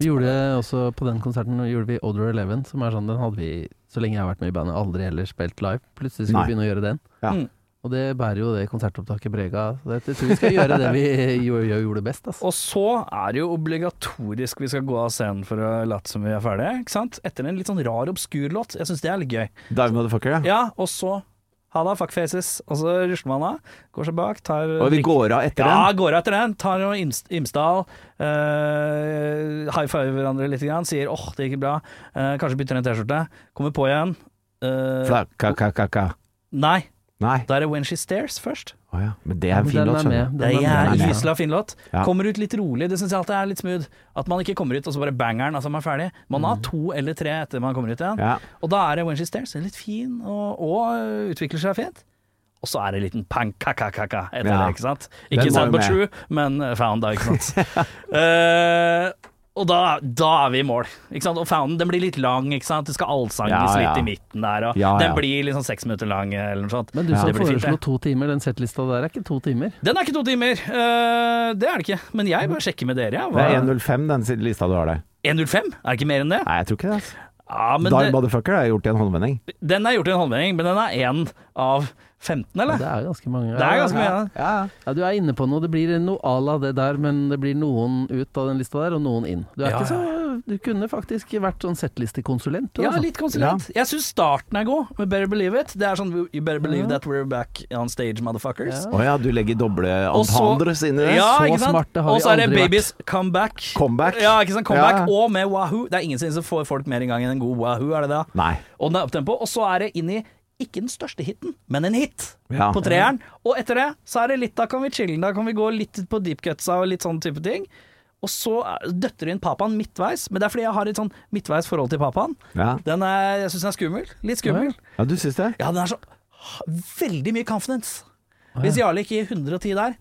Speaker 3: Vi gjorde også på den konserten gjorde vi Odor Eleven, som er sånn den hadde vi så lenge jeg har vært med i bandet, aldri heller spilt live. Plutselig skulle
Speaker 2: Nei.
Speaker 3: vi begynne å gjøre den.
Speaker 2: Ja.
Speaker 1: Mm.
Speaker 3: Og det bærer jo det konsertopptaket preg av. Så jeg tror vi skal gjøre det vi (laughs) gjorde, gjorde best. Altså.
Speaker 1: Og så er det jo obligatorisk vi skal gå av scenen for å late som vi er ferdige, ikke sant? Etter en litt sånn rar, obskur låt. Jeg syns det er litt gøy.
Speaker 2: Dive Motherfucker, ja.
Speaker 1: Ja, og så ha det, fuckfaces. Og så rusler man av, går seg bak, tar
Speaker 2: Og vi går av etter
Speaker 1: Ja,
Speaker 2: den.
Speaker 1: går etter den. Tar jo Ims- Imsdal, eh, high five hverandre litt, grann, sier 'åh, det gikk bra', eh, kanskje bytter en T-skjorte, kommer på igjen. eh,
Speaker 2: Flakka-ka-ka-ka.
Speaker 1: nei,
Speaker 2: Nei.
Speaker 1: da er det 'When She Stares' først.
Speaker 2: Å ja. Men det er altså. en fin
Speaker 3: Den
Speaker 2: låt, skjønner du.
Speaker 3: med,
Speaker 1: Det er
Speaker 3: den er
Speaker 1: jævlig
Speaker 3: med.
Speaker 2: med.
Speaker 1: gysla fin låt.
Speaker 2: Ja.
Speaker 1: Kommer ut litt rolig, det syns jeg alltid er litt smooth. At man ikke kommer ut og så bare bangeren, altså man er ferdig. Man har to eller tre etter man kommer ut igjen.
Speaker 2: Mm. Ja.
Speaker 1: Og da er det When She Stares, den er litt fin og, og øh, utvikler seg fint. Og så er det en liten pang-ka-ka-ka-ka etter
Speaker 2: Ja.
Speaker 1: det, ikke sant?
Speaker 2: Den
Speaker 1: Ikke
Speaker 2: var
Speaker 1: Sound
Speaker 2: jo
Speaker 1: But True,
Speaker 2: med.
Speaker 1: men øh, Found, da, ikke sant.
Speaker 2: (laughs)
Speaker 1: Eh, og da, da er vi i mål. Ikke sant? Og Founden den blir litt lang, ikke sant. Det skal allsanges
Speaker 2: Ja, ja.
Speaker 1: litt i midten der, og
Speaker 2: Ja, ja.
Speaker 1: den blir liksom seks minutter lang eller noe sånt.
Speaker 3: Men du
Speaker 1: Ja.
Speaker 3: som
Speaker 1: Det blir fint,
Speaker 3: foreslo
Speaker 1: det.
Speaker 3: to timer, den settlista der er ikke to timer.
Speaker 1: Den er ikke to timer, eh, det er det ikke. Men jeg bør sjekke med dere,
Speaker 2: Det er
Speaker 1: jeg.
Speaker 2: 1.05 den si- lista du har der.
Speaker 1: Hva- 1.05? Er det ikke mer enn det?
Speaker 2: Nei, jeg tror ikke det. Altså.
Speaker 1: Ja, men
Speaker 2: Dive
Speaker 1: det,
Speaker 2: Motherfucker er gjort i en håndvending.
Speaker 1: den er gjort i en håndvending, men den er én av 15, eller?
Speaker 3: Det er ganske mange.
Speaker 1: Det er ganske mye. da.
Speaker 2: Ja, ja.
Speaker 3: Ja, du er inne på noe. Det blir noe à la det der, men det blir noen ut av den lista der, og noen inn. Du er
Speaker 1: Ja,
Speaker 3: ikke så du kunne faktisk vært sånn settlistekonsulent. du,
Speaker 1: Ja,
Speaker 3: altså.
Speaker 1: litt konsulent. Jeg syns starten er god, med 'Better Believe It'. Det er sånn 'You better believe that we're back on stage, motherfuckers'.
Speaker 3: Ja.
Speaker 2: Å ja, du legger doble
Speaker 1: Og så-
Speaker 2: entendres inn i det?
Speaker 1: Ja,
Speaker 3: så
Speaker 1: ikke sant?
Speaker 3: smarte har vi
Speaker 1: Og så er det
Speaker 3: aldri vært.
Speaker 1: 'Babies Comeback'.
Speaker 2: Comeback?
Speaker 1: Ja, ikke sant? Comeback
Speaker 2: Ja.
Speaker 1: Og med Wahoo. Det er ingenting som får folk mer i gang enn en god Wahoo, er det det?
Speaker 2: Nei.
Speaker 1: Og den er opptempo. Og så er det inn i ikke den største hiten, men en hit
Speaker 2: Ja.
Speaker 1: på treeren. Og etter det så er det litt Da kan vi chille, da kan vi gå litt på deep cutsa og litt sånn type ting. Og så er- døtter inn papaen midtveis, men det er fordi jeg har et sånn midtveis forhold til papaen.
Speaker 2: Ja.
Speaker 1: Den er, jeg syns den er skummel. Litt skummel.
Speaker 2: ja, du syns det?
Speaker 1: Ja, den er så Veldig mye confidence. Hvis Jarle ikke gir 110 der,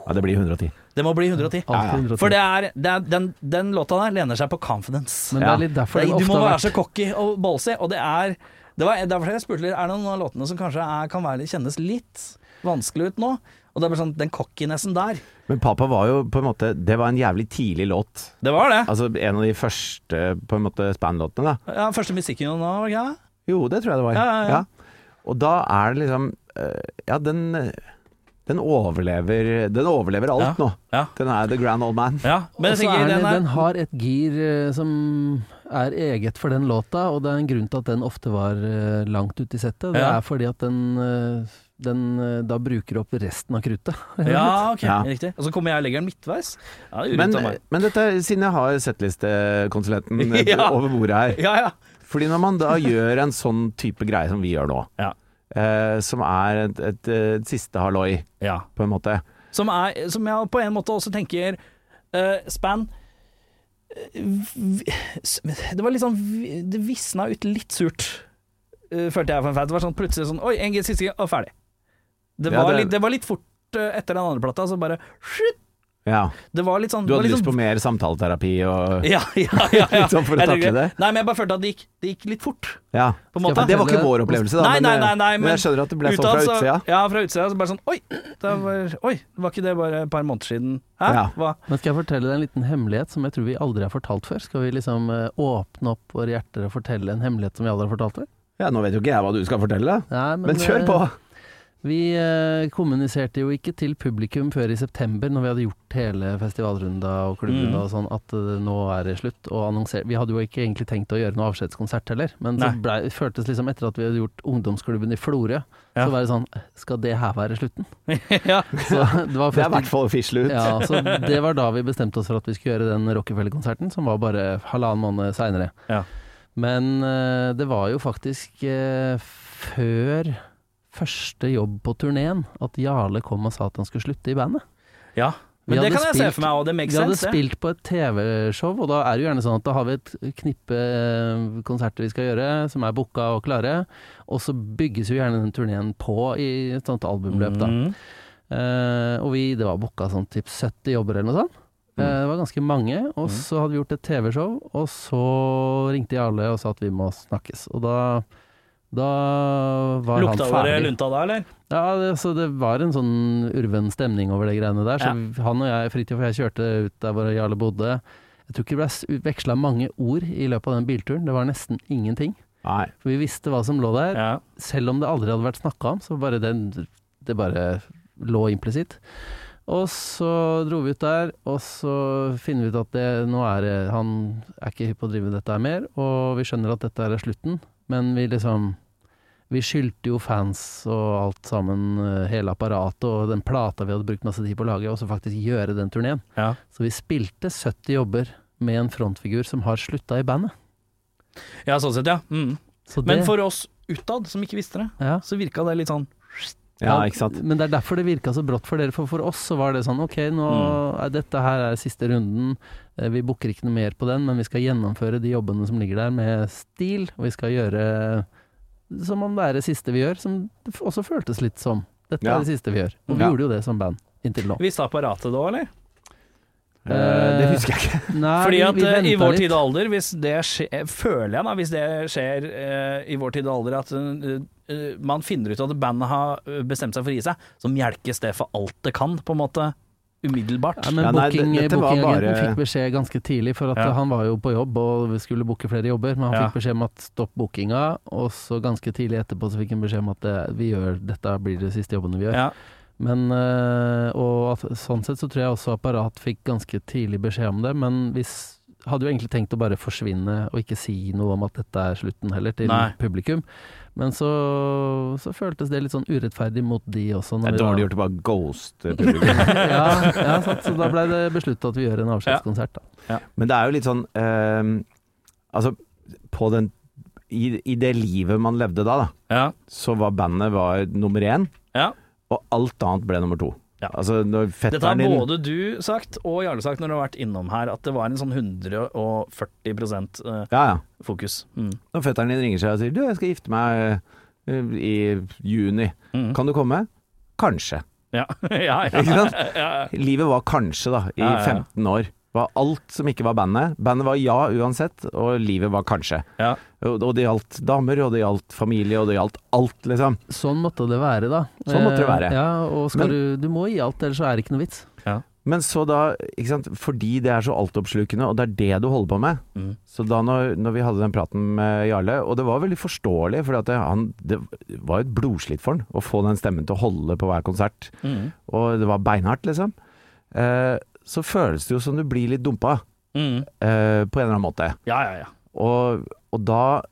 Speaker 2: Ja, det blir 110.
Speaker 1: det må bli 110.
Speaker 3: Alltid 110.
Speaker 1: For det er, det er den, den låta der lener seg på confidence.
Speaker 3: Men det
Speaker 2: Ja.
Speaker 3: er litt derfor
Speaker 1: Fordi
Speaker 3: den
Speaker 1: du
Speaker 3: ofte
Speaker 1: må
Speaker 3: har
Speaker 1: være
Speaker 3: vært
Speaker 1: så cocky og ballsy, og det er det var Derfor jeg spurte litt, er det noen av låtene som kanskje er, kan være, kjennes litt vanskelig ut nå? Og det er bare sånn, den cockinessen der.
Speaker 2: Men Papa var jo på en måte Det var en jævlig tidlig låt.
Speaker 1: Det var det.
Speaker 2: Altså en av de første på en måte Span-låtene, da.
Speaker 1: Ja, første musikken jo nå, var det ikke det?
Speaker 2: Jo, det tror jeg det var.
Speaker 1: Ja, ja, ja.
Speaker 2: Og da er det liksom eh, Ja, den Den overlever Den overlever alt nå.
Speaker 1: Ja.
Speaker 2: Den er The Grand Old Man.
Speaker 1: ja. Men
Speaker 3: Og
Speaker 1: jeg
Speaker 3: så er
Speaker 1: tenker
Speaker 3: det,
Speaker 1: den
Speaker 3: den
Speaker 1: er
Speaker 3: har et gir eh, som er eget for den låta, og det er en grunn til at den ofte var eh, langt ute i settet. Det
Speaker 1: Ja.
Speaker 3: er fordi at den, eh, den eh, da bruker opp resten av kruttet.
Speaker 1: Ja, ok,
Speaker 2: Ja.
Speaker 1: riktig. Og så kommer jeg og legger den midtveis. Ja, det er
Speaker 2: Men,
Speaker 1: urett av meg.
Speaker 2: men dette, siden jeg
Speaker 1: (laughs)
Speaker 2: har settlistekonsulenten
Speaker 1: Ja.
Speaker 2: over bordet her
Speaker 1: Ja, ja.
Speaker 2: Fordi når
Speaker 1: (laughs)
Speaker 2: man da gjør en sånn type greie som vi gjør nå,
Speaker 1: Ja.
Speaker 2: eh, som er et, et, eh, siste halloi,
Speaker 1: ja.
Speaker 2: på en måte
Speaker 1: Som, er, som jeg på en måte også tenker eh, Span eh, vi- s- Det var litt sånn vi- Det visna ut litt surt, eh, følte jeg for en fan. Det var sånn plutselig sånn Oi, en G siste gang, og ferdig. Det
Speaker 2: Ja,
Speaker 1: var,
Speaker 2: det-
Speaker 1: litt, det var litt fort eh, etter den andre plata, så bare shit,
Speaker 2: ja.
Speaker 1: Det var litt sånn det
Speaker 2: Du
Speaker 1: var
Speaker 2: hadde
Speaker 1: litt
Speaker 2: lyst på
Speaker 1: sånn,
Speaker 2: mer samtaleterapi og
Speaker 1: Ja, ja, ja. (laughs) ja.
Speaker 2: (laughs) Litt sånn for å
Speaker 1: Jeg tenker
Speaker 2: takle det.
Speaker 1: Nei, men jeg bare følte at det gikk, det gikk litt fort,
Speaker 2: Ja.
Speaker 1: på en
Speaker 3: Skal
Speaker 1: måte.
Speaker 3: jeg
Speaker 2: Det var ikke vår opplevelse, da,
Speaker 1: Nei,
Speaker 2: men, eh,
Speaker 1: nei, nei, nei,
Speaker 2: men
Speaker 1: men
Speaker 2: jeg skjønner at det ble sånn fra
Speaker 1: Utad så-
Speaker 2: utsida.
Speaker 1: Ja, fra utsida. Så bare sånn Oi, det var, oi, var ikke det bare et par måneder siden? Hæ?
Speaker 2: Ja.
Speaker 1: Hva? (laughs)
Speaker 3: Men skal jeg fortelle deg en liten hemmelighet som jeg tror vi aldri har fortalt før? Skal vi liksom eh, åpne opp våre hjerter og fortelle en hemmelighet som vi aldri har fortalt før?
Speaker 2: Ja, nå vet jo ikke jeg hva du skal fortelle, da.
Speaker 3: Nei,
Speaker 2: men kjør på.
Speaker 3: eh, Vi eh, kommuniserte jo ikke til publikum før i september, når vi hadde gjort hele festivalrunda og klubbrunda
Speaker 1: Mm.
Speaker 3: og sånn, at eh, nå er det slutt. Og annonser- vi hadde jo ikke egentlig tenkt å gjøre noe avskjedskonsert heller, men
Speaker 1: Nei.
Speaker 3: så ble, føltes liksom etter at vi hadde gjort ungdomsklubben i Florø,
Speaker 1: Ja.
Speaker 3: så var det sånn Skal det her være slutten?
Speaker 1: ja.
Speaker 3: Så det var
Speaker 2: Det er i
Speaker 3: først i
Speaker 2: hvert fall fisle ut.
Speaker 3: Ja, så det var da vi bestemte oss for at vi skulle gjøre den Rockefeller-konserten, som var bare halvannen måned seinere.
Speaker 1: Ja.
Speaker 3: Men eh, det var jo faktisk eh, før første jobb på turneen at Jarle kom og sa at han skulle slutte i bandet.
Speaker 1: Ja,
Speaker 3: Vi
Speaker 1: men det
Speaker 3: hadde
Speaker 1: kan jeg se
Speaker 3: spilt-
Speaker 1: for meg, og det makes
Speaker 3: Vi hadde
Speaker 1: sense. det.
Speaker 3: spilt på et TV-show, og da er det jo gjerne sånn at da har vi et knippe eh, konserter vi skal gjøre, som er booka og klare, og så bygges jo gjerne den turneen på i et sånt albumløp, da.
Speaker 1: Mm.
Speaker 3: Eh, og vi, det var booka sånn typ 70 jobber eller noe sånt. Eh, det var ganske mange. Og så hadde vi gjort et TV-show, og så ringte Jarle og sa at vi må snakkes. Og da, da var
Speaker 1: Lukta
Speaker 3: han
Speaker 1: dere
Speaker 3: ferdig.
Speaker 1: lunta da, eller?
Speaker 3: Ja, det, så det var en sånn urven stemning over det greiene der. Så han og jeg, Fridtjof og jeg kjørte ut der hvor Jarle bodde. Jeg tror ikke det ble veksla mange ord i løpet av den bilturen. Det var nesten ingenting.
Speaker 2: Nei.
Speaker 3: For vi visste hva som lå der
Speaker 1: Ja.
Speaker 3: selv om det aldri hadde vært snakka om, så bare den, det bare lå implisitt. Og så dro vi ut der, og så finner vi ut at det, nå er det, han er ikke hypp på å drive dette her mer, og vi skjønner at dette her er slutten, men vi liksom Vi skyldte jo fans og alt sammen, eh, hele apparatet og den plata vi hadde brukt masse tid på å lage, og så faktisk gjøre den turneen.
Speaker 1: Ja.
Speaker 3: Så vi spilte 70 jobber med en frontfigur som har slutta i bandet.
Speaker 1: ja, sånn sett, ja. Mm.
Speaker 3: Så
Speaker 1: Men
Speaker 3: det-
Speaker 1: for oss utad, som ikke visste det,
Speaker 3: ja.
Speaker 1: så virka det litt sånn
Speaker 2: Ja, ikke sant.
Speaker 3: Men det er derfor det virka så brått for dere, for for oss så var det sånn ok, nå
Speaker 1: Mm.
Speaker 3: er dette her er siste runden, eh, vi booker ikke noe mer på den, men vi skal gjennomføre de jobbene som ligger der med stil, og vi skal gjøre som om det er det siste vi gjør, som det f- også føltes litt som. Dette
Speaker 2: Ja.
Speaker 3: er det siste vi gjør. Og vi
Speaker 2: Ja.
Speaker 3: gjorde jo det som band,
Speaker 1: (laughs)
Speaker 3: inntil nå.
Speaker 1: Visste apparatet da, eller?
Speaker 2: Eh, det husker jeg ikke.
Speaker 3: Nei,
Speaker 1: Fordi
Speaker 3: vi-
Speaker 1: at
Speaker 3: vi
Speaker 1: eh, i
Speaker 3: ventet
Speaker 1: vår
Speaker 3: litt.
Speaker 1: tid og alder, hvis det skjer Føler jeg da, hvis det skjer eh, i vår tid og alder at eh, eh, man finner ut at bandet har eh, bestemt seg for å gi seg, så mjelkes det for alt det kan, på en måte. Umiddelbart.
Speaker 3: Ja, men
Speaker 2: Ja, nei, det-
Speaker 3: booking-
Speaker 2: dette var
Speaker 3: Bookingagenten
Speaker 2: bare-
Speaker 3: fikk beskjed ganske tidlig, for at eh,
Speaker 1: Ja.
Speaker 3: han var jo på jobb og skulle booke flere jobber, men han
Speaker 1: Ja.
Speaker 3: fikk beskjed om at stopp bookinga, og så ganske tidlig etterpå så fikk han beskjed om at det, vi gjør, dette blir de siste jobbene vi gjør.
Speaker 1: Ja.
Speaker 3: Men, eh, øh, og at, sånn sett så tror jeg også Apparat fikk ganske tidlig beskjed om det, men hvis hadde jo egentlig tenkt å bare forsvinne og ikke si noe om at dette er slutten heller, til
Speaker 1: Nei.
Speaker 3: publikum. Men så, så føltes det litt sånn urettferdig mot de også.
Speaker 1: Eh,
Speaker 2: Det er dårlig gjort å bare
Speaker 1: (laughs)
Speaker 2: ghoste publikum.
Speaker 3: ja, (laughs) ja, sant. Så da blei det beslutta at vi gjør en avskjedskonsert, da.
Speaker 2: Men det er jo litt sånn eh, Altså, på den i, I det livet man levde da, da
Speaker 1: Ja.
Speaker 2: så var bandet var nummer én,
Speaker 1: ja.
Speaker 2: og alt annet ble nummer to.
Speaker 1: Ja.
Speaker 2: Altså, når
Speaker 1: Dette har
Speaker 2: fetteren din
Speaker 1: både du sagt og Jarle sagt når du har vært innom her, at det var en sånn 140 eh,
Speaker 2: Ja, ja.
Speaker 1: fokus. Mm.
Speaker 2: Når fetteren din ringer seg og sier 'du, jeg skal gifte meg eh, i juni',
Speaker 1: Mm.
Speaker 2: kan du komme?
Speaker 1: (laughs)
Speaker 2: Kanskje.
Speaker 1: Ja. ja, ja.
Speaker 2: Ikke sant?
Speaker 1: ja.
Speaker 2: Livet var kanskje, da, i
Speaker 1: Ja, ja, ja.
Speaker 2: 15 år. Var alt som ikke var bandet. Bandet var ja uansett, og livet var kanskje.
Speaker 1: ja.
Speaker 2: Og og det gjaldt damer, og det gjaldt familie, og det gjaldt alt, liksom.
Speaker 3: Sånn måtte det være, da.
Speaker 2: Sånn måtte det
Speaker 3: Eh,
Speaker 2: være.
Speaker 3: Ja, og
Speaker 2: Men-
Speaker 3: skal du, du må gi alt, ellers så er det ikke noe vits.
Speaker 2: Men så da, ikke sant, fordi det er så altoppslukende, og det er det du holder på med
Speaker 1: Mm.
Speaker 2: Så da når, når vi hadde den praten med Jarle, og det var veldig forståelig, for det, han- det var jo et blodslitt for han å få den stemmen til å holde på hver konsert,
Speaker 1: Mm.
Speaker 2: og det var beinhardt, liksom. Eh, så føles det jo som du blir litt dumpa,
Speaker 1: Mm.
Speaker 2: eh, på en eller annen måte.
Speaker 1: ja, ja, ja.
Speaker 2: Og, og da,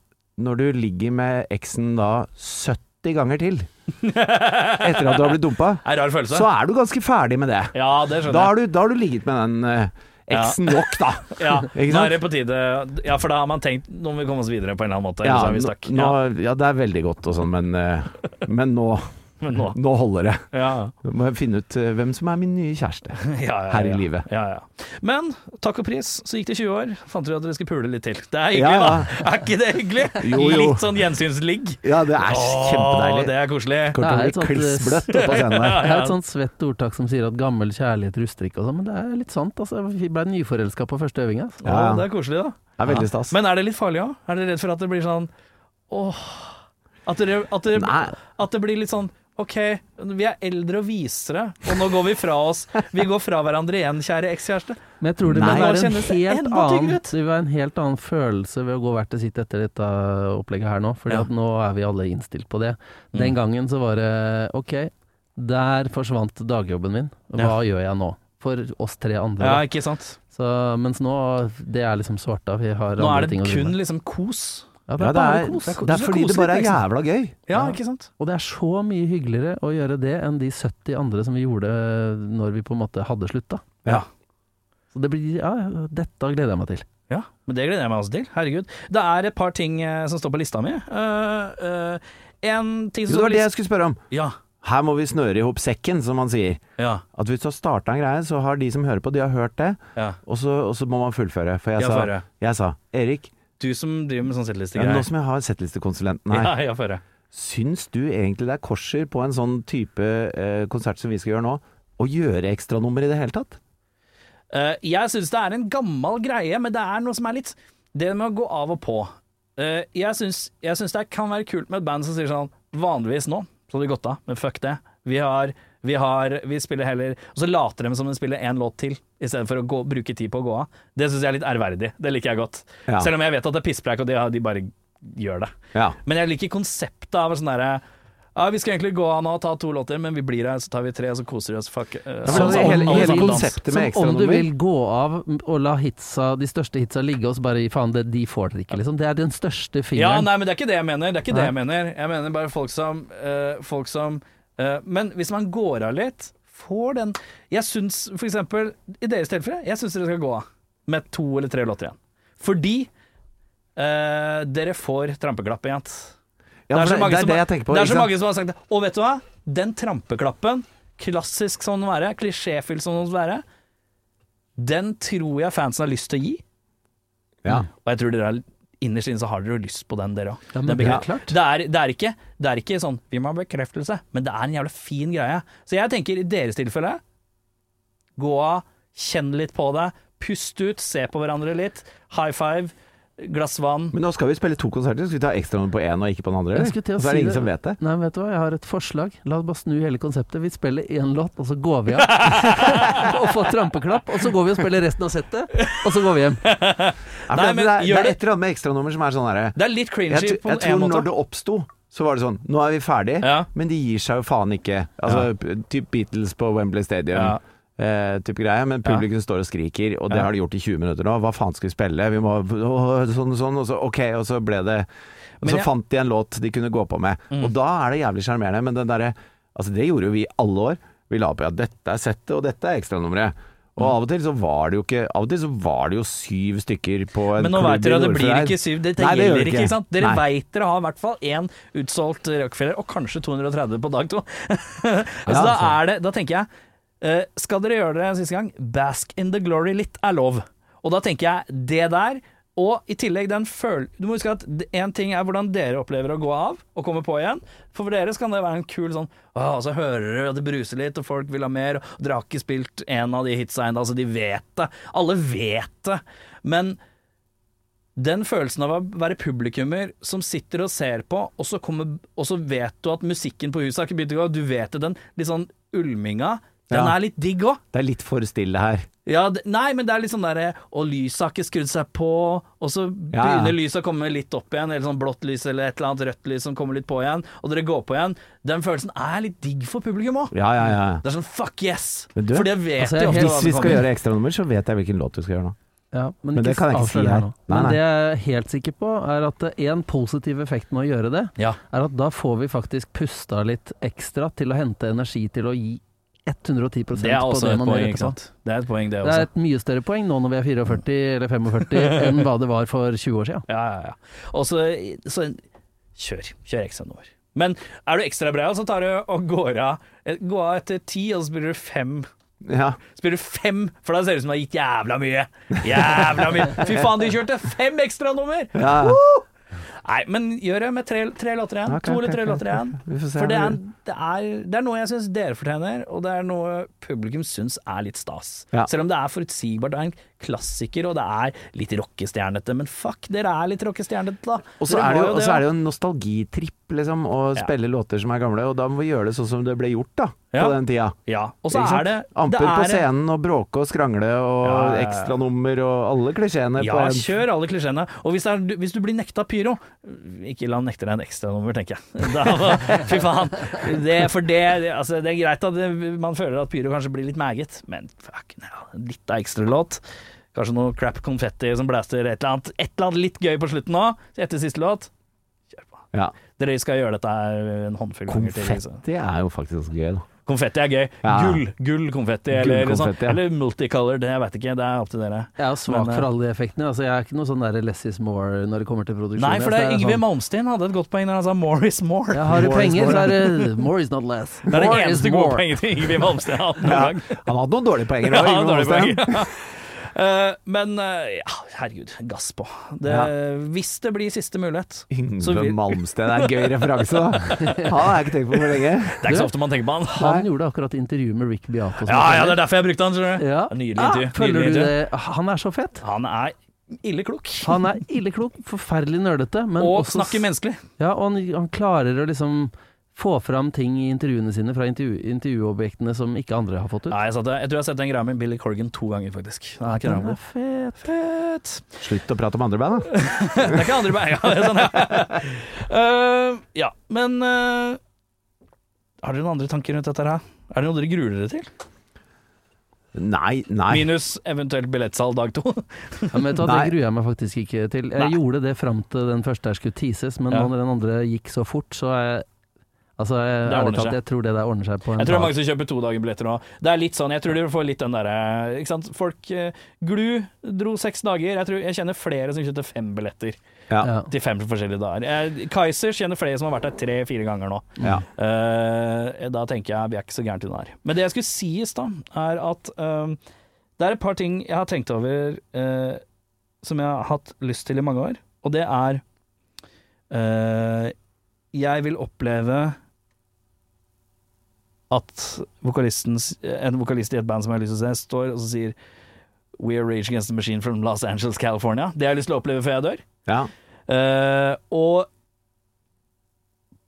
Speaker 2: når du ligger med eksen da 70 ganger til, (laughs) etter at du har blitt dumpa,
Speaker 1: (laughs) Det er en rar følelse.
Speaker 2: så er du ganske ferdig med det.
Speaker 1: Ja, det
Speaker 2: Da
Speaker 1: skjønner jeg.
Speaker 2: har du, da har du ligget med den eh, eksen nok, da.
Speaker 1: Ja,
Speaker 2: (laughs) Ikke
Speaker 1: nå
Speaker 2: sant?
Speaker 1: er det på tide Ja, for da har man tenkt nå må vi komme oss videre på en eller annen måte.
Speaker 2: Ja,
Speaker 1: ellers er vi
Speaker 2: nå,
Speaker 1: stakk.
Speaker 2: nå, ja, det er veldig godt og sånn, men, eh, men nå,
Speaker 1: ja, men (laughs) nå.
Speaker 2: nå holder det.
Speaker 1: Ja.
Speaker 2: (laughs) Nå må jeg finne ut eh, hvem som er min nye kjæreste.
Speaker 1: Ja, ja, ja,
Speaker 2: Her i
Speaker 1: ja.
Speaker 2: livet.
Speaker 1: Ja, ja. Men takk og pris, så gikk det 20 år. Fant dere at dere skulle pule litt til. Det er hyggelig,
Speaker 2: Ja, ja.
Speaker 1: da! Er ikke det hyggelig?
Speaker 2: Jo, jo.
Speaker 1: Litt sånn gjensynsligg.
Speaker 2: Ja, det er
Speaker 1: Åh,
Speaker 2: kjempedeilig.
Speaker 1: Det er koselig.
Speaker 2: Kommer
Speaker 3: Det er
Speaker 2: til å bli
Speaker 3: et sånt, eh,
Speaker 2: klissbløtt
Speaker 1: (laughs)
Speaker 2: oppå scenen der.
Speaker 3: Det er et sånt svett ordtak som sier at gammel kjærlighet ruster ikke og sånn, men det er litt sant. Altså, vi blei nyforelska på første øving. Altså.
Speaker 1: Åh,
Speaker 2: Ja.
Speaker 1: det er koselig, da.
Speaker 2: Det er veldig stas.
Speaker 1: Men er det litt farlig òg? Er dere redd for at det blir sånn åh At, dere, at, dere,
Speaker 2: Nei,
Speaker 1: at det blir litt sånn OK, vi er eldre og visere, og nå går vi fra oss. Vi går fra hverandre igjen, kjære ekskjæreste.
Speaker 3: Men jeg tror det
Speaker 2: Nei.
Speaker 3: vil være
Speaker 1: Nå
Speaker 3: en
Speaker 1: kjennes det
Speaker 3: helt,
Speaker 1: enda tyngre
Speaker 3: annen,
Speaker 1: ut.
Speaker 3: det vil være en helt annen følelse ved å gå hvert til sitt etter dette opplegget her nå, Fordi
Speaker 1: Ja.
Speaker 3: at nå er vi alle innstilt på det.
Speaker 1: Mm.
Speaker 3: Den gangen så var det ok, der forsvant dagjobben min, hva gjør jeg nå? For oss tre andre.
Speaker 1: Ja,
Speaker 3: da.
Speaker 1: ikke sant?
Speaker 3: Så, mens nå, det er liksom svarta. Vi har
Speaker 1: Nå
Speaker 3: andre
Speaker 1: er det
Speaker 3: ting å drive
Speaker 1: kun
Speaker 3: med.
Speaker 1: liksom kos.
Speaker 3: Ja, det
Speaker 2: ja,
Speaker 3: er
Speaker 2: det,
Speaker 3: bare
Speaker 2: er,
Speaker 3: kos.
Speaker 2: det er fordi det bare er
Speaker 1: liksom.
Speaker 2: jævla gøy.
Speaker 1: Ja,
Speaker 3: Ja.
Speaker 1: ikke sant?
Speaker 3: Og det er så mye hyggeligere å gjøre det enn de 70 andre som vi gjorde eh, når vi på en måte hadde slutta.
Speaker 1: Ja.
Speaker 3: Så det blir, ja, ja, dette gleder jeg meg til.
Speaker 1: Ja, men det gleder jeg meg også til. Herregud. Det er et par ting eh, som står på lista mi. Eh, eh, en ting som
Speaker 2: Jo, det
Speaker 1: står på
Speaker 2: var det jeg
Speaker 1: lista
Speaker 2: skulle spørre om.
Speaker 1: Ja.
Speaker 2: Her må vi snøre i hop sekken, som man sier.
Speaker 1: Ja.
Speaker 2: At hvis du har starta en greie, så har de som hører på, de har hørt det,
Speaker 1: ja.
Speaker 2: og så, og så må man fullføre. For jeg,
Speaker 1: Ja,
Speaker 2: sa,
Speaker 1: føre.
Speaker 2: jeg sa Erik,
Speaker 1: Du som driver med sånn
Speaker 2: ja, men nå
Speaker 1: settelistegreier.
Speaker 2: som jeg har settlistekonsulenten her,
Speaker 1: Ja, ja, føre.
Speaker 2: Syns du egentlig det er korser på en sånn type eh, konsert som vi skal gjøre nå, å gjøre ekstranummer i det hele tatt?
Speaker 1: Eh, jeg syns det er en gammel greie, men det er noe som er litt Det med å gå av og på. Eh, jeg syns jeg syns det kan være kult med et band som sier sånn Vanligvis nå så hadde vi gått av, men fuck det. Vi har vi, har, vi spiller heller Og så later de som de spiller én låt til, i stedet for å gå, bruke tid på å gå av. Det syns jeg er litt ærverdig. Det liker jeg godt.
Speaker 2: Ja.
Speaker 1: Selv om jeg vet at det er pisspreik, og de, de bare gjør det.
Speaker 2: Ja.
Speaker 1: Men jeg liker konseptet av sånn derre ja, Vi skal egentlig gå av nå og ta to låter, men vi blir her, så tar vi tre, og så koser vi oss. Fuck. eh, alle
Speaker 2: men det
Speaker 1: sammen-
Speaker 2: hele-
Speaker 1: alle
Speaker 2: hele
Speaker 1: sammen dans.
Speaker 2: konseptet- Dette
Speaker 3: Som
Speaker 2: med
Speaker 3: om du
Speaker 2: ekstranummer.
Speaker 3: vil gå av og la hitsa, de største hitsa ligge og så bare gi faen, det, de får dere ikke, liksom. Det er den største
Speaker 1: Ja,
Speaker 3: fingeren.
Speaker 1: nei, men det er ikke det jeg mener. Det er ikke det
Speaker 3: Nei.
Speaker 1: jeg mener. Jeg mener bare folk som, eh, folk som eh, Men hvis man går av litt, får den Jeg syns for eksempel, i deres tilfelle, jeg syns dere skal gå av med to eller tre låter igjen. Fordi eh, dere får trampeklapp igjen.
Speaker 2: Ja, for det, det, er
Speaker 1: som,
Speaker 2: det
Speaker 1: har-
Speaker 2: jeg tenker på.
Speaker 1: det er
Speaker 2: ikke
Speaker 1: så
Speaker 2: sant?
Speaker 1: mange som har sagt det. Og vet du hva? Den trampeklappen, klassisk som den være, klisjéfylt som den være, den tror jeg fansen har lyst til å gi.
Speaker 2: Ja.
Speaker 1: Og jeg tror dere er innerst inne så har dere jo lyst på den, dere òg.
Speaker 3: Ja, men
Speaker 1: Den
Speaker 3: det er
Speaker 1: bekreft-
Speaker 3: klart.
Speaker 1: det, er- det, er ikke- det er ikke sånn 'vi må ha bekreftelse', men det er en jævla fin greie. Så jeg tenker i deres tilfelle gå av, kjenn litt på det, pust ut, se på hverandre litt, high five, glass vann.
Speaker 2: Men nå skal vi spille to konserter. Skal vi ta ekstranummer på én og ikke på den andre?
Speaker 3: Jeg
Speaker 2: eller?
Speaker 3: skulle til
Speaker 2: Så
Speaker 3: å
Speaker 2: er
Speaker 3: si
Speaker 2: det ingen
Speaker 3: det.
Speaker 2: som vet det.
Speaker 3: Nei, vet du hva, jeg har et forslag. La oss bare snu hele konseptet. Vi spiller én låt, og så går
Speaker 2: (laughs)
Speaker 3: vi av. og får trampeklapp, og så går vi og spiller resten av settet, og så går vi hjem.
Speaker 2: Nei, for
Speaker 1: Nei, men
Speaker 2: det- det, er,
Speaker 1: gjør
Speaker 2: det er
Speaker 1: det.
Speaker 2: et eller annet med ekstranummer som er sånn herre
Speaker 1: Det er litt
Speaker 2: jeg,
Speaker 1: cringy
Speaker 2: tr-
Speaker 1: på
Speaker 2: jeg tror
Speaker 1: en
Speaker 2: når
Speaker 1: måte.
Speaker 2: det oppsto, så var det sånn Nå er vi ferdig,
Speaker 1: Ja.
Speaker 2: men de gir seg jo faen ikke. Altså, Typ Beatles på Wembley Stadium.
Speaker 1: Ja.
Speaker 2: eh, type greie, men publikum står og skriker, og det
Speaker 1: Ja.
Speaker 2: har de gjort i 20 minutter nå. Hva faen skal vi spille? Vi må åh, sånn, sånn, og så ok, og så ble det
Speaker 1: Men
Speaker 2: Og så
Speaker 1: jeg- Mm.
Speaker 2: fant de en låt de kunne gå på med. Og da er det jævlig sjarmerende, men den derre Altså, det gjorde jo vi i alle år. Vi la på ja, dette er settet, og dette er ekstranummeret. Og
Speaker 1: Mm.
Speaker 2: av og til så var det jo ikke Av og til så var det jo syv stykker på en
Speaker 1: Men nå vet
Speaker 2: klubb i
Speaker 1: dere at det blir
Speaker 2: Nordfjord.
Speaker 1: ikke syv. Dette
Speaker 2: Nei, det gjør
Speaker 1: gjelder ikke.
Speaker 2: det ikke.
Speaker 1: ikke sant? Dere
Speaker 2: Nei.
Speaker 1: vet dere har i hvert fall én utsolgt Rockefeller, og kanskje 230 på dag to. (laughs) så
Speaker 2: Ja, altså.
Speaker 1: da
Speaker 2: sant.
Speaker 1: er det Da tenker jeg eh, Skal dere gjøre det en siste gang, bask in the glory litt er lov. Og da tenker jeg det der, og i tillegg den føl... Du må huske at én ting er hvordan dere opplever å gå av og komme på igjen. For for dere så kan det være en kul sånn Åh, så hører dere at det bruser litt, og folk vil ha mer, og dere har ikke spilt en av de hitsa ennå, altså de vet det. Alle vet det. Men den følelsen av å være publikummer som sitter og ser på, og så, kommer, og så vet du at musikken på huset har ikke begynt å gå, du vet det, den litt sånn ulminga, den
Speaker 2: Ja.
Speaker 1: er litt digg òg.
Speaker 2: Det er litt for stille her.
Speaker 1: Ja, d- nei, men det er litt sånn derre Og lyset har ikke skrudd seg på, og så
Speaker 2: Ja, ja.
Speaker 1: begynner lyset å komme litt opp igjen, eller sånn blått lys eller et eller annet rødt lys som kommer litt på igjen, og dere går på igjen. Den følelsen er litt digg for publikum òg.
Speaker 2: Ja, ja, ja.
Speaker 1: Det er sånn fuck yes!
Speaker 2: Men du,
Speaker 1: for det sånn. vet
Speaker 3: altså, jeg
Speaker 1: de
Speaker 3: er
Speaker 1: ofte hva
Speaker 3: helt-
Speaker 2: Hvis vi
Speaker 1: som
Speaker 2: skal
Speaker 1: kommer.
Speaker 2: gjøre ekstranummer, så vet jeg hvilken låt vi skal gjøre nå.
Speaker 3: Ja, men,
Speaker 2: Men det kan jeg ikke
Speaker 3: avslør
Speaker 2: si
Speaker 3: det
Speaker 2: her.
Speaker 3: nå.
Speaker 2: Nei,
Speaker 3: Men
Speaker 2: nei.
Speaker 3: det jeg er helt sikker på, er at én positiv effekt med å gjøre det,
Speaker 1: Ja.
Speaker 3: er at da får vi faktisk pusta litt ekstra til å hente energi til å gi 110 Altså, på
Speaker 1: Det er også
Speaker 3: det
Speaker 1: et
Speaker 3: man
Speaker 1: poeng,
Speaker 3: gjør
Speaker 1: ikke
Speaker 3: etterpå.
Speaker 1: sant. Det er et poeng, det
Speaker 3: Det
Speaker 1: også.
Speaker 3: er et mye større poeng nå når vi er 44 eller
Speaker 1: (laughs)
Speaker 3: 45 enn hva det var for 20 år siden.
Speaker 1: Ja, ja, ja. Og så, så kjør. Kjør ekstra nummer. Men er du ekstra bra, så tar du og går av, går av etter ti, og så spiller du fem.
Speaker 2: Ja.
Speaker 1: Spiller du fem, for da ser det ut som du har gitt jævla mye. Jævla mye. Fy faen, de kjørte fem ekstranummer!
Speaker 2: ja.
Speaker 1: Nei, men gjør det med tre, tre låter igjen.
Speaker 2: Ok,
Speaker 1: to eller
Speaker 2: ok,
Speaker 1: tre
Speaker 2: ok,
Speaker 1: låter
Speaker 2: ok.
Speaker 1: igjen.
Speaker 2: Vi får se.
Speaker 1: For det er, det, er, det er noe jeg syns dere fortjener, og det er noe publikum syns er litt stas.
Speaker 2: Ja.
Speaker 1: Selv om det er forutsigbart, det er en klassiker, og det er litt rockestjernete. Men fuck, dere er litt rockestjernete, da.
Speaker 2: Og så
Speaker 1: Dere
Speaker 2: er det
Speaker 1: var
Speaker 2: jo, og så er
Speaker 1: da.
Speaker 2: det jo en nostalgitripp, liksom, å
Speaker 1: Ja.
Speaker 2: spille låter som er gamle, og da må vi gjøre det sånn som det ble gjort, da,
Speaker 1: Ja.
Speaker 2: på den tida.
Speaker 1: Ja, og så
Speaker 2: Ikke sant?
Speaker 1: er det
Speaker 2: Amper
Speaker 1: det er,
Speaker 2: på scenen og bråke og skrangle og
Speaker 1: Ja, ja, ja.
Speaker 2: ekstranummer og alle klisjeene
Speaker 1: Ja,
Speaker 2: på en
Speaker 1: kjør alle klisjeene. Og hvis, det er, hvis du blir nekta pyro Ikke la han nekte deg en ekstranummer, tenker jeg. Da,
Speaker 2: (laughs)
Speaker 1: fy faen. Det, for det, altså, det er greit at det, man føler at pyro kanskje blir litt meget, men fuck, ja, litt av ekstralåt. Kanskje noe crap konfetti som blaster et eller annet. Et eller annet litt gøy på slutten nå, etter siste låt. Kjør på.
Speaker 2: Ja.
Speaker 1: Dere skal gjøre dette her en håndfull ganger til. liksom.
Speaker 2: Konfetti er jo faktisk ganske gøy, da.
Speaker 1: Konfetti er gøy.
Speaker 2: Ja.
Speaker 1: Gull, gull konfetti, eller,
Speaker 2: Gull
Speaker 1: sånn,
Speaker 2: konfetti, ja.
Speaker 1: eller multicolored, jeg veit ikke. Det er opp til dere.
Speaker 3: Jeg er jo svak
Speaker 1: Men, eh,
Speaker 3: for alle de effektene. Altså, jeg er ikke noe sånn der less is more når det kommer til produksjon.
Speaker 1: Nei, for det er
Speaker 3: Jeg
Speaker 1: Yngve
Speaker 3: sånn,
Speaker 1: Malmsteen hadde et godt poeng når han sa 'more is more'.
Speaker 3: ja, Har du
Speaker 2: More is
Speaker 3: penger,
Speaker 2: more.
Speaker 3: så er det more is not less.
Speaker 1: Det er
Speaker 3: More
Speaker 1: det
Speaker 3: is
Speaker 1: eneste
Speaker 3: more.
Speaker 1: gode poenget til Yngve Malmsteen har hatt noen gang.
Speaker 2: Han hadde noen dårlige
Speaker 1: (laughs)
Speaker 2: poenger
Speaker 1: Ja, han
Speaker 2: òg,
Speaker 1: har
Speaker 2: Yngve
Speaker 1: dårlig
Speaker 2: Malmsteen.
Speaker 1: poeng. Eh, Men eh, ja, herregud, gass på. Det, Hvis det blir siste mulighet. Så
Speaker 2: Yngve
Speaker 1: vi-
Speaker 2: Malmsteen er en
Speaker 1: (laughs)
Speaker 2: gøy referanse, da. Han har jeg ikke tenkt på for lenge.
Speaker 1: Det er ikke så ofte man tenker på han.
Speaker 3: Han gjorde akkurat intervju med Rick Beato. som
Speaker 1: Ja, ja,
Speaker 3: forteller.
Speaker 1: det er derfor jeg brukte han, skjønner du.
Speaker 3: Ja.
Speaker 1: Nydelig
Speaker 3: Ah,
Speaker 1: intervju.
Speaker 3: følger
Speaker 1: Nydelig
Speaker 3: du
Speaker 1: intervju.
Speaker 3: det? Han er så fett.
Speaker 1: Han er ille klok.
Speaker 3: Han er illeklok, forferdelig nerdete, men
Speaker 1: Og
Speaker 3: også-
Speaker 1: snakker menneskelig.
Speaker 3: Ja, og han, han klarer å liksom få fram ting i intervjuene sine fra intervju, intervjuobjektene som ikke andre har fått ut.
Speaker 1: Nei, jeg, satt, jeg tror jeg har sett den greia med Billy Corgan to ganger, faktisk. Det er ikke
Speaker 3: Den
Speaker 1: det.
Speaker 3: er fet.
Speaker 1: Fett.
Speaker 2: Slutt å prate om andre band, da.
Speaker 1: Det er ikke andre beier, (laughs) ja, det er sånn. Eh, ja, men eh, Har dere noen andre tanker rundt dette her? Er det noe dere gruer dere til?
Speaker 2: Nei, nei.
Speaker 1: Minus eventuelt billettsalg dag to. (laughs)
Speaker 3: Ja, men vet du hva,
Speaker 2: Nei.
Speaker 3: Det gruer jeg meg faktisk ikke til. Jeg
Speaker 1: Nei.
Speaker 3: gjorde det fram til den første her skulle teases, men
Speaker 1: Ja.
Speaker 3: nå når den andre gikk så fort, så er jeg Altså, jeg,
Speaker 1: Det
Speaker 3: ærlig
Speaker 1: ordner
Speaker 3: talt,
Speaker 1: seg.
Speaker 3: jeg tror det der ordner seg på en
Speaker 1: Jeg tror det er
Speaker 3: dag.
Speaker 1: mange som kjøper todagerbilletter nå. Det er litt sånn, jeg tror de får litt den derre Ikke sant. Folk eh, Glu dro seks dager. Jeg, tror, jeg kjenner flere som kjøpte fem billetter
Speaker 2: Ja.
Speaker 3: Ja.
Speaker 1: til fem forskjellige dager. Eh, Kaizers kjenner flere som har vært der tre-fire ganger nå.
Speaker 3: Mm.
Speaker 2: Ja.
Speaker 1: Eh, da tenker jeg vi er ikke så gærent unna her. Men det jeg skulle si i stad, er at eh, det er et par ting jeg har tenkt over eh, som jeg har hatt lyst til i mange år, og det er eh, Jeg vil oppleve at vokalistens, en vokalist i et band som jeg har lyst til å se, står og så sier We are Rage Against the Machine from Los Angeles, California. Det har jeg lyst til å oppleve før jeg dør.
Speaker 2: ja.
Speaker 1: Eh, og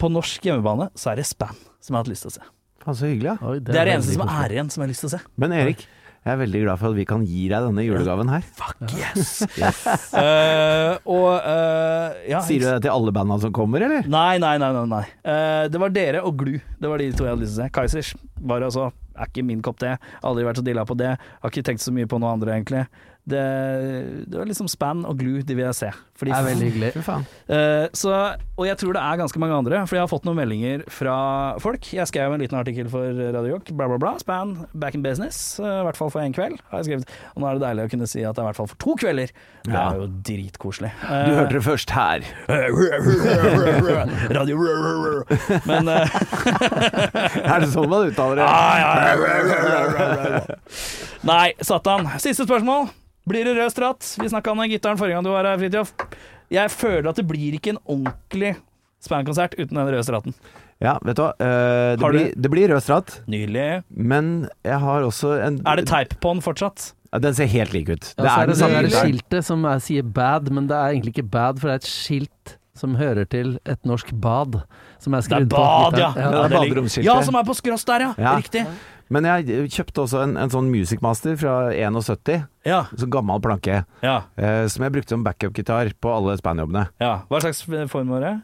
Speaker 1: på norsk hjemmebane så er det Span som jeg har hatt lyst til å se.
Speaker 2: Faen, så hyggelig, da.
Speaker 3: Oi,
Speaker 1: Det er det
Speaker 3: veldig
Speaker 1: eneste som
Speaker 3: koselig.
Speaker 1: er igjen som jeg har lyst til å se.
Speaker 2: Men Erik, jeg er veldig glad for at vi kan gi deg denne julegaven her.
Speaker 1: Fuck (laughs) yes! Eh, og eh, ja,
Speaker 2: Sier du det til alle banda som kommer, eller?
Speaker 1: Nei, nei, nei. nei, nei. Eh, det var dere og Glu. Det var de to jeg hadde lyst til å se. Kaizers var altså er ikke min kopp te. Aldri vært så dilla på det. Har ikke tenkt så mye på noe andre, egentlig. Det, det var liksom Span og Glue de vil jeg se. Fordi
Speaker 3: Det er veldig hyggelig.
Speaker 2: Fy faen.
Speaker 1: Eh, så, og jeg tror det er ganske mange andre, for jeg har fått noen meldinger fra folk. Jeg skrev en liten artikkel for Radio York, bla, bla, bla. Span, back in business. eh, I hvert fall for én kveld, har jeg skrevet. Og nå er det deilig å kunne si at det er i hvert fall for to kvelder. Det
Speaker 2: Ja.
Speaker 1: er jo dritkoselig. Eh,
Speaker 2: Du hørte det først her.
Speaker 1: (laughs) Radio Men eh,
Speaker 2: Er det sånn man uttaler det?
Speaker 1: Ah,
Speaker 2: (laughs)
Speaker 1: Nei, satan. Siste spørsmål. Blir det rød stratt? Vi snakka om den gitaren forrige gang du var her, Fridtjof. Jeg føler at det blir ikke en ordentlig Span-konsert uten den røde stratten.
Speaker 2: Ja, vet du hva. Eh, det,
Speaker 1: Har du-
Speaker 2: blir, det blir rød stratt,
Speaker 1: Nydelig.
Speaker 2: men jeg har også en
Speaker 1: Er det teip på den fortsatt?
Speaker 2: Ja, Den ser helt lik ut.
Speaker 3: Ja, så er det det der
Speaker 2: gitteren.
Speaker 3: skiltet som er, sier bad, men det er egentlig ikke bad, for det er et skilt som hører til et norsk bad. Som er
Speaker 1: Det er
Speaker 3: skrevet på
Speaker 1: bad, ja.
Speaker 3: gittaren.
Speaker 2: Ja, det er
Speaker 1: ligger-
Speaker 2: baderomsskiltet.
Speaker 1: Ja, som er på skross der, ja.
Speaker 2: Ja.
Speaker 1: Riktig.
Speaker 2: Men jeg kjøpte også en, en sånn Music Master fra 71,
Speaker 1: Ja,
Speaker 2: sånn gammel planke,
Speaker 1: ja,
Speaker 2: eh, som jeg brukte som backup-gitar på alle spanjobbene.
Speaker 1: ja. Hva slags form var det?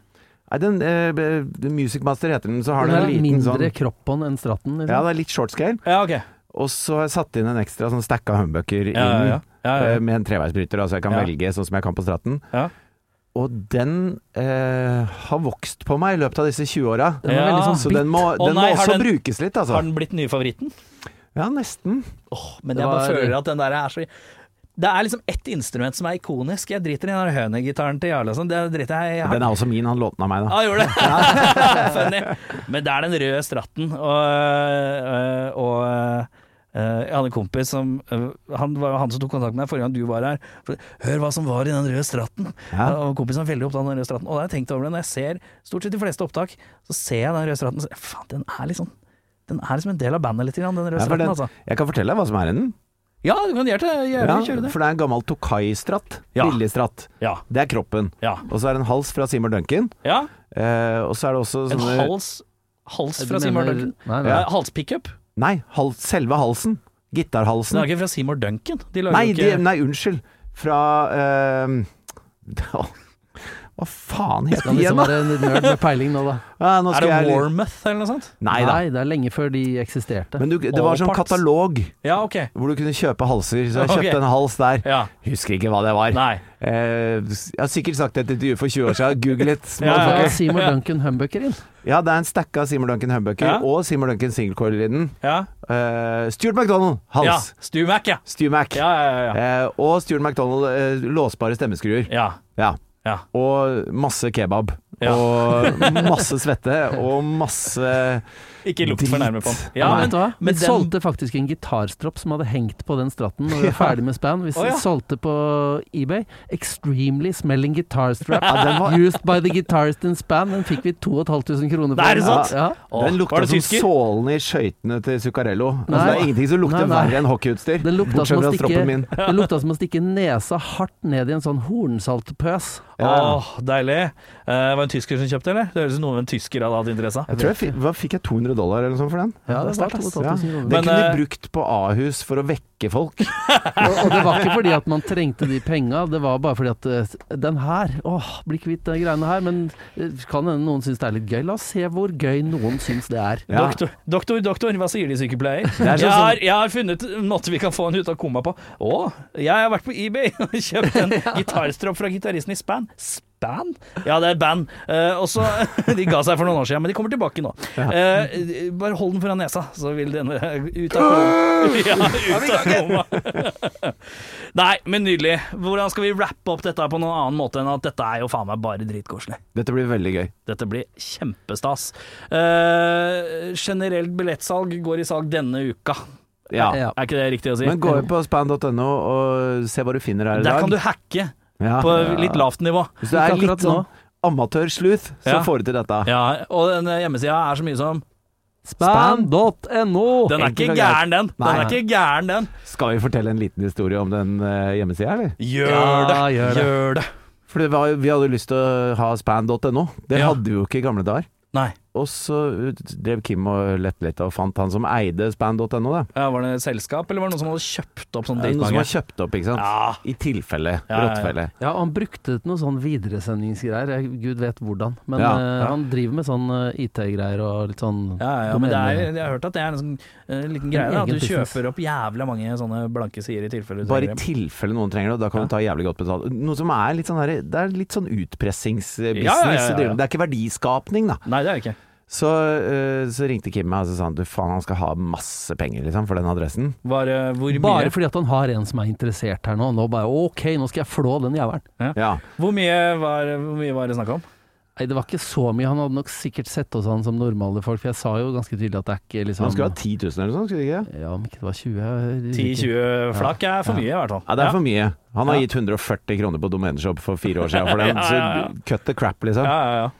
Speaker 2: Nei, den eh, be- den Music Master heter den, så har
Speaker 3: Den
Speaker 2: den
Speaker 3: er
Speaker 2: en liten
Speaker 3: mindre liksom.
Speaker 2: sånn
Speaker 3: kroppbånd enn stratten. Liksom.
Speaker 2: Ja, det er litt short scale.
Speaker 1: Ja, ok.
Speaker 2: Og så har jeg satt inn en ekstra sånn stacka humbucker
Speaker 1: Ja, ja,
Speaker 2: inn
Speaker 1: ja. ja,
Speaker 2: eh,
Speaker 1: ja.
Speaker 2: med en treveisbryter, da, så jeg kan
Speaker 1: Ja.
Speaker 2: velge sånn som jeg kan på stratten.
Speaker 1: Ja.
Speaker 2: Og den eh, har vokst på meg i løpet av disse 20 åra.
Speaker 3: Den er veldig
Speaker 1: Ja.
Speaker 3: sånn
Speaker 2: Så den må,
Speaker 1: Å
Speaker 2: den
Speaker 1: nei,
Speaker 2: må
Speaker 1: har
Speaker 2: også
Speaker 1: den-
Speaker 2: brukes litt, altså.
Speaker 1: Har den blitt den nye favoritten?
Speaker 2: Ja, nesten.
Speaker 1: Åh, men
Speaker 3: Det
Speaker 1: jeg bare
Speaker 3: var-
Speaker 1: føler at den der er så Det er liksom ett instrument som er ikonisk. Jeg driter i den der hønegitaren til Jarle og sånn. Det driter jeg i.
Speaker 2: Den er også min, han lånte den av meg, da.
Speaker 1: (laughs) Ja, gjorde det. (laughs) Funny. Men det er den røde stratten. Og, øh, og øh, jeg hadde en kompis som øh, Han var han som tok kontakt med meg forrige gang du var her. For, Hør hva som var i den røde stratten.
Speaker 2: Ja.
Speaker 1: Og kompisen var veldig opptatt av den røde stratten. Og da har jeg tenkt over det. Når jeg ser stort sett de fleste opptak, så ser jeg den røde stratten og sier faen, den er liksom den er liksom en del av bandet litt, grann, den røde
Speaker 2: Ja, for
Speaker 1: stratten,
Speaker 2: den,
Speaker 1: altså.
Speaker 2: jeg kan fortelle deg hva som er i den.
Speaker 1: Ja, du kan gjøre det. Gjerne
Speaker 2: Ja,
Speaker 1: kjøre det.
Speaker 2: for det er en gammel Tokai-stratt.
Speaker 1: Ja.
Speaker 2: Billigstratt.
Speaker 1: Ja.
Speaker 2: Det er kroppen.
Speaker 1: ja.
Speaker 2: Og så er det en hals fra Seymour Duncan.
Speaker 1: ja.
Speaker 2: Eh, og så er det også
Speaker 1: En
Speaker 2: sånne
Speaker 1: hals Hals
Speaker 3: Du
Speaker 1: fra Seymour
Speaker 3: mener-
Speaker 1: Duncan. Eh,
Speaker 3: Nei, nei.
Speaker 1: (laughs) Ja. Halspickup?
Speaker 2: Nei, hals, selve halsen.
Speaker 1: Den
Speaker 2: Gitarhalsen.
Speaker 1: er ikke fra Seymour Duncan. De lager
Speaker 2: Nei,
Speaker 1: jo
Speaker 2: de,
Speaker 1: ikke
Speaker 2: nei, unnskyld. Fra eh, (laughs) Hva faen heter
Speaker 3: Skal
Speaker 2: de igjen,
Speaker 3: liksom
Speaker 2: da?
Speaker 3: være en nerd med peiling nå, da.
Speaker 2: Ja, nå
Speaker 1: Er
Speaker 2: skal
Speaker 1: det
Speaker 2: jeg-
Speaker 1: Warmouth eller noe sånt?
Speaker 2: Nei da.
Speaker 3: det er lenge før de eksisterte.
Speaker 2: Men du, det var sånn
Speaker 1: All parts.
Speaker 2: katalog
Speaker 1: Ja, ok.
Speaker 2: hvor du kunne kjøpe halser. Så jeg
Speaker 1: Ok.
Speaker 2: kjøpte en hals der.
Speaker 1: Ja.
Speaker 2: Husker ikke hva det var.
Speaker 1: Nei.
Speaker 2: Eh, jeg har sikkert sagt dette til du for 20 år
Speaker 1: (laughs)
Speaker 2: siden. Google it.
Speaker 1: Ja, ja,
Speaker 3: Da
Speaker 1: ja.
Speaker 3: var Seymour Duncan humbucker inn.
Speaker 2: Ja, det er en stack av Seymour Duncan humbucker
Speaker 1: Ja.
Speaker 2: og Seymour Duncan singlecoil-lyden.
Speaker 1: Ja.
Speaker 2: Uh, Stuart MacDonald, hals.
Speaker 1: ja. Stumac, ja.
Speaker 2: Stu Mac.
Speaker 1: Ja, ja, ja. ja.
Speaker 2: Eh, og Stuart MacDonald, eh, låsbare stemmeskruer.
Speaker 1: ja.
Speaker 2: Ja.
Speaker 1: Ja.
Speaker 2: Og masse kebab.
Speaker 1: Ja.
Speaker 2: Og masse svette, og masse
Speaker 1: Ikke lukt for nærme på den. (laughs) Ja,
Speaker 3: Nei, vet
Speaker 1: men,
Speaker 3: du hva? Vi
Speaker 1: men den-
Speaker 3: solgte faktisk en gitarstropp som hadde hengt på den
Speaker 1: (laughs)
Speaker 3: stratten når vi var ferdig med span. Vi
Speaker 1: Å, ja.
Speaker 3: solgte på eBay. Extremely smelling guitar
Speaker 1: (laughs)
Speaker 3: strap
Speaker 2: Ja, den var
Speaker 3: used by the guitarist in span. Den fikk vi 2500 kroner for.
Speaker 1: Nei, er det
Speaker 3: Ja,
Speaker 1: sant?
Speaker 3: Ja.
Speaker 1: Åh,
Speaker 2: Den
Speaker 1: var
Speaker 2: lukta
Speaker 1: det
Speaker 2: som
Speaker 1: tysker?
Speaker 2: sålene i skøytene til Zuccarello. Altså,
Speaker 3: Nei.
Speaker 2: det er ingenting som lukter
Speaker 3: Nei, nei.
Speaker 2: verre enn hockeyutstyr.
Speaker 3: Den lukta
Speaker 2: Bortsett
Speaker 3: som å
Speaker 2: fra
Speaker 3: stikke-
Speaker 2: stroppen min.
Speaker 3: (laughs) Det lukta som å stikke nesa hardt ned i en sånn hornsaltpøs.
Speaker 2: Ja.
Speaker 1: Åh, deilig. Eh, var det en tysker som kjøpte, eller? Det høres ut som noe en tysker hadde hatt interesse av.
Speaker 2: Jeg tror jeg fikk, hva, fikk jeg 200 dollar eller noe sånt for den?
Speaker 3: Ja, det var
Speaker 2: sterkt, ass.
Speaker 3: 2500
Speaker 2: Ja.
Speaker 3: kroner.
Speaker 2: Den
Speaker 1: Men,
Speaker 2: kunne
Speaker 1: eh,
Speaker 2: vi brukt på Ahus for å vekke folk.
Speaker 3: Og, og det var ikke fordi at man trengte de penga, det var bare fordi at eh, den her Åh, bli kvitt de greiene her. Men eh, kan hende noen syns det er litt gøy. La oss se hvor gøy noen syns det er.
Speaker 2: Ja.
Speaker 1: Doktor, doktor, doktor, hva sier de sykepleier?
Speaker 2: er sånn
Speaker 1: jeg,
Speaker 2: som-
Speaker 1: har, jeg har funnet en måte vi kan få han ut av koma på. Å, jeg har vært på eBay og kjøpt
Speaker 2: (laughs)
Speaker 1: en gitarstropp fra gitaristen i Span. Span? Ja, det er et band. Eh, og så, (laughs) De ga seg for noen år siden, men de kommer tilbake nå. Eh, bare hold den foran nesa, så vil den eh, ut av
Speaker 2: (laughs)
Speaker 1: koma. Ja, ut av koma. (laughs) Nei, men nydelig. Hvordan skal vi rappe opp dette på noen annen måte enn at dette er jo faen meg bare dritkoselig?
Speaker 2: Dette blir veldig gøy.
Speaker 1: Dette blir kjempestas. Eh, generelt billettsalg går i salg denne uka.
Speaker 2: Ja.
Speaker 3: Ja.
Speaker 1: Er ikke det riktig å si?
Speaker 2: Men gå inn på span.no og se hva du finner her i
Speaker 1: Der
Speaker 2: dag.
Speaker 1: kan du hacke
Speaker 2: Ja.
Speaker 1: på litt lavt nivå.
Speaker 2: Hvis du er
Speaker 3: Ikke akkurat
Speaker 2: litt sånn amatør-sleuth, så
Speaker 1: Ja.
Speaker 2: får du til dette.
Speaker 1: Ja, og den hjemmesida er så mye som
Speaker 3: Span.no!
Speaker 1: Den er
Speaker 2: enkelt
Speaker 1: ikke
Speaker 2: og
Speaker 1: gæren, den. Den
Speaker 2: Nei.
Speaker 1: er ikke gæren, den.
Speaker 2: Skal vi fortelle en liten historie om den uh, hjemmesida, eller?
Speaker 1: Gjør det!
Speaker 3: Ja, gjør det.
Speaker 1: Gjør det.
Speaker 2: For det var, jo- vi hadde jo lyst til å ha span.no. Det
Speaker 1: Ja.
Speaker 2: hadde vi jo ikke i gamle dager.
Speaker 1: Nei.
Speaker 2: og så drev Kim og lette litt og fant han som eide span.no, da.
Speaker 1: Ja, var det et selskap, eller var det noen som hadde kjøpt opp sånn
Speaker 2: Det er noe som
Speaker 1: dritmange?
Speaker 2: har kjøpt opp, ikke sant?
Speaker 1: Ja.
Speaker 2: I tilfelle.
Speaker 1: Ja, ja, ja.
Speaker 2: Rottefelle.
Speaker 3: Ja, han brukte noe sånn videresendingsgreier, jeg, gud vet hvordan. Men
Speaker 2: Ja,
Speaker 3: eh,
Speaker 2: ja.
Speaker 3: han driver med sånn eh, IT-greier og litt sånn
Speaker 1: Ja, ja, men det er, jeg har hørt at det er en sånn, eh, liten greie, da, at du
Speaker 3: egen business.
Speaker 1: kjøper opp jævla mange sånne blanke sider i tilfelle du
Speaker 2: Bare i
Speaker 1: trenger dem.
Speaker 2: tilfelle noen trenger det, og da kan
Speaker 1: Ja.
Speaker 2: du ta jævlig godt betalt. Noe som er litt sånn, her, det er litt sånn utpressingsbusiness.
Speaker 1: Ja, ja, ja, ja, ja.
Speaker 2: Det er ikke verdiskapning, da.
Speaker 1: Nei, det er det ikke.
Speaker 2: Så, eh, så ringte Kim meg og så sa han, du faen, han skal ha masse penger liksom, for den adressen.
Speaker 1: Bare eh, hvor mye,
Speaker 3: Bare fordi at han har en som er interessert her nå. Nå bare OK, nå skal jeg flå den jævelen.
Speaker 2: Ja.
Speaker 1: hvor, mye var, hvor mye var det snakk om?
Speaker 3: Nei, det var ikke så mye. Han hadde nok sikkert sett oss han som normale folk, for jeg sa jo ganske tydelig at det er ikke
Speaker 2: Så
Speaker 3: liksom
Speaker 1: Sånn.
Speaker 2: han skulle ha 10 000 eller noe sånt, skulle han ikke?
Speaker 3: Ja, om ikke det var 20 jeg-
Speaker 1: 10-20 flak er for mye, i hvert fall.
Speaker 2: Ja, det er
Speaker 1: ja.
Speaker 2: for mye. Han har
Speaker 1: Ja.
Speaker 2: gitt 140 kroner på Domeneshop for fire år
Speaker 1: (laughs)
Speaker 2: siden for
Speaker 1: Ja,
Speaker 2: den,
Speaker 1: ja, ja.
Speaker 2: så cut the crap,
Speaker 1: Ja,
Speaker 2: liksom.
Speaker 1: ja, ja.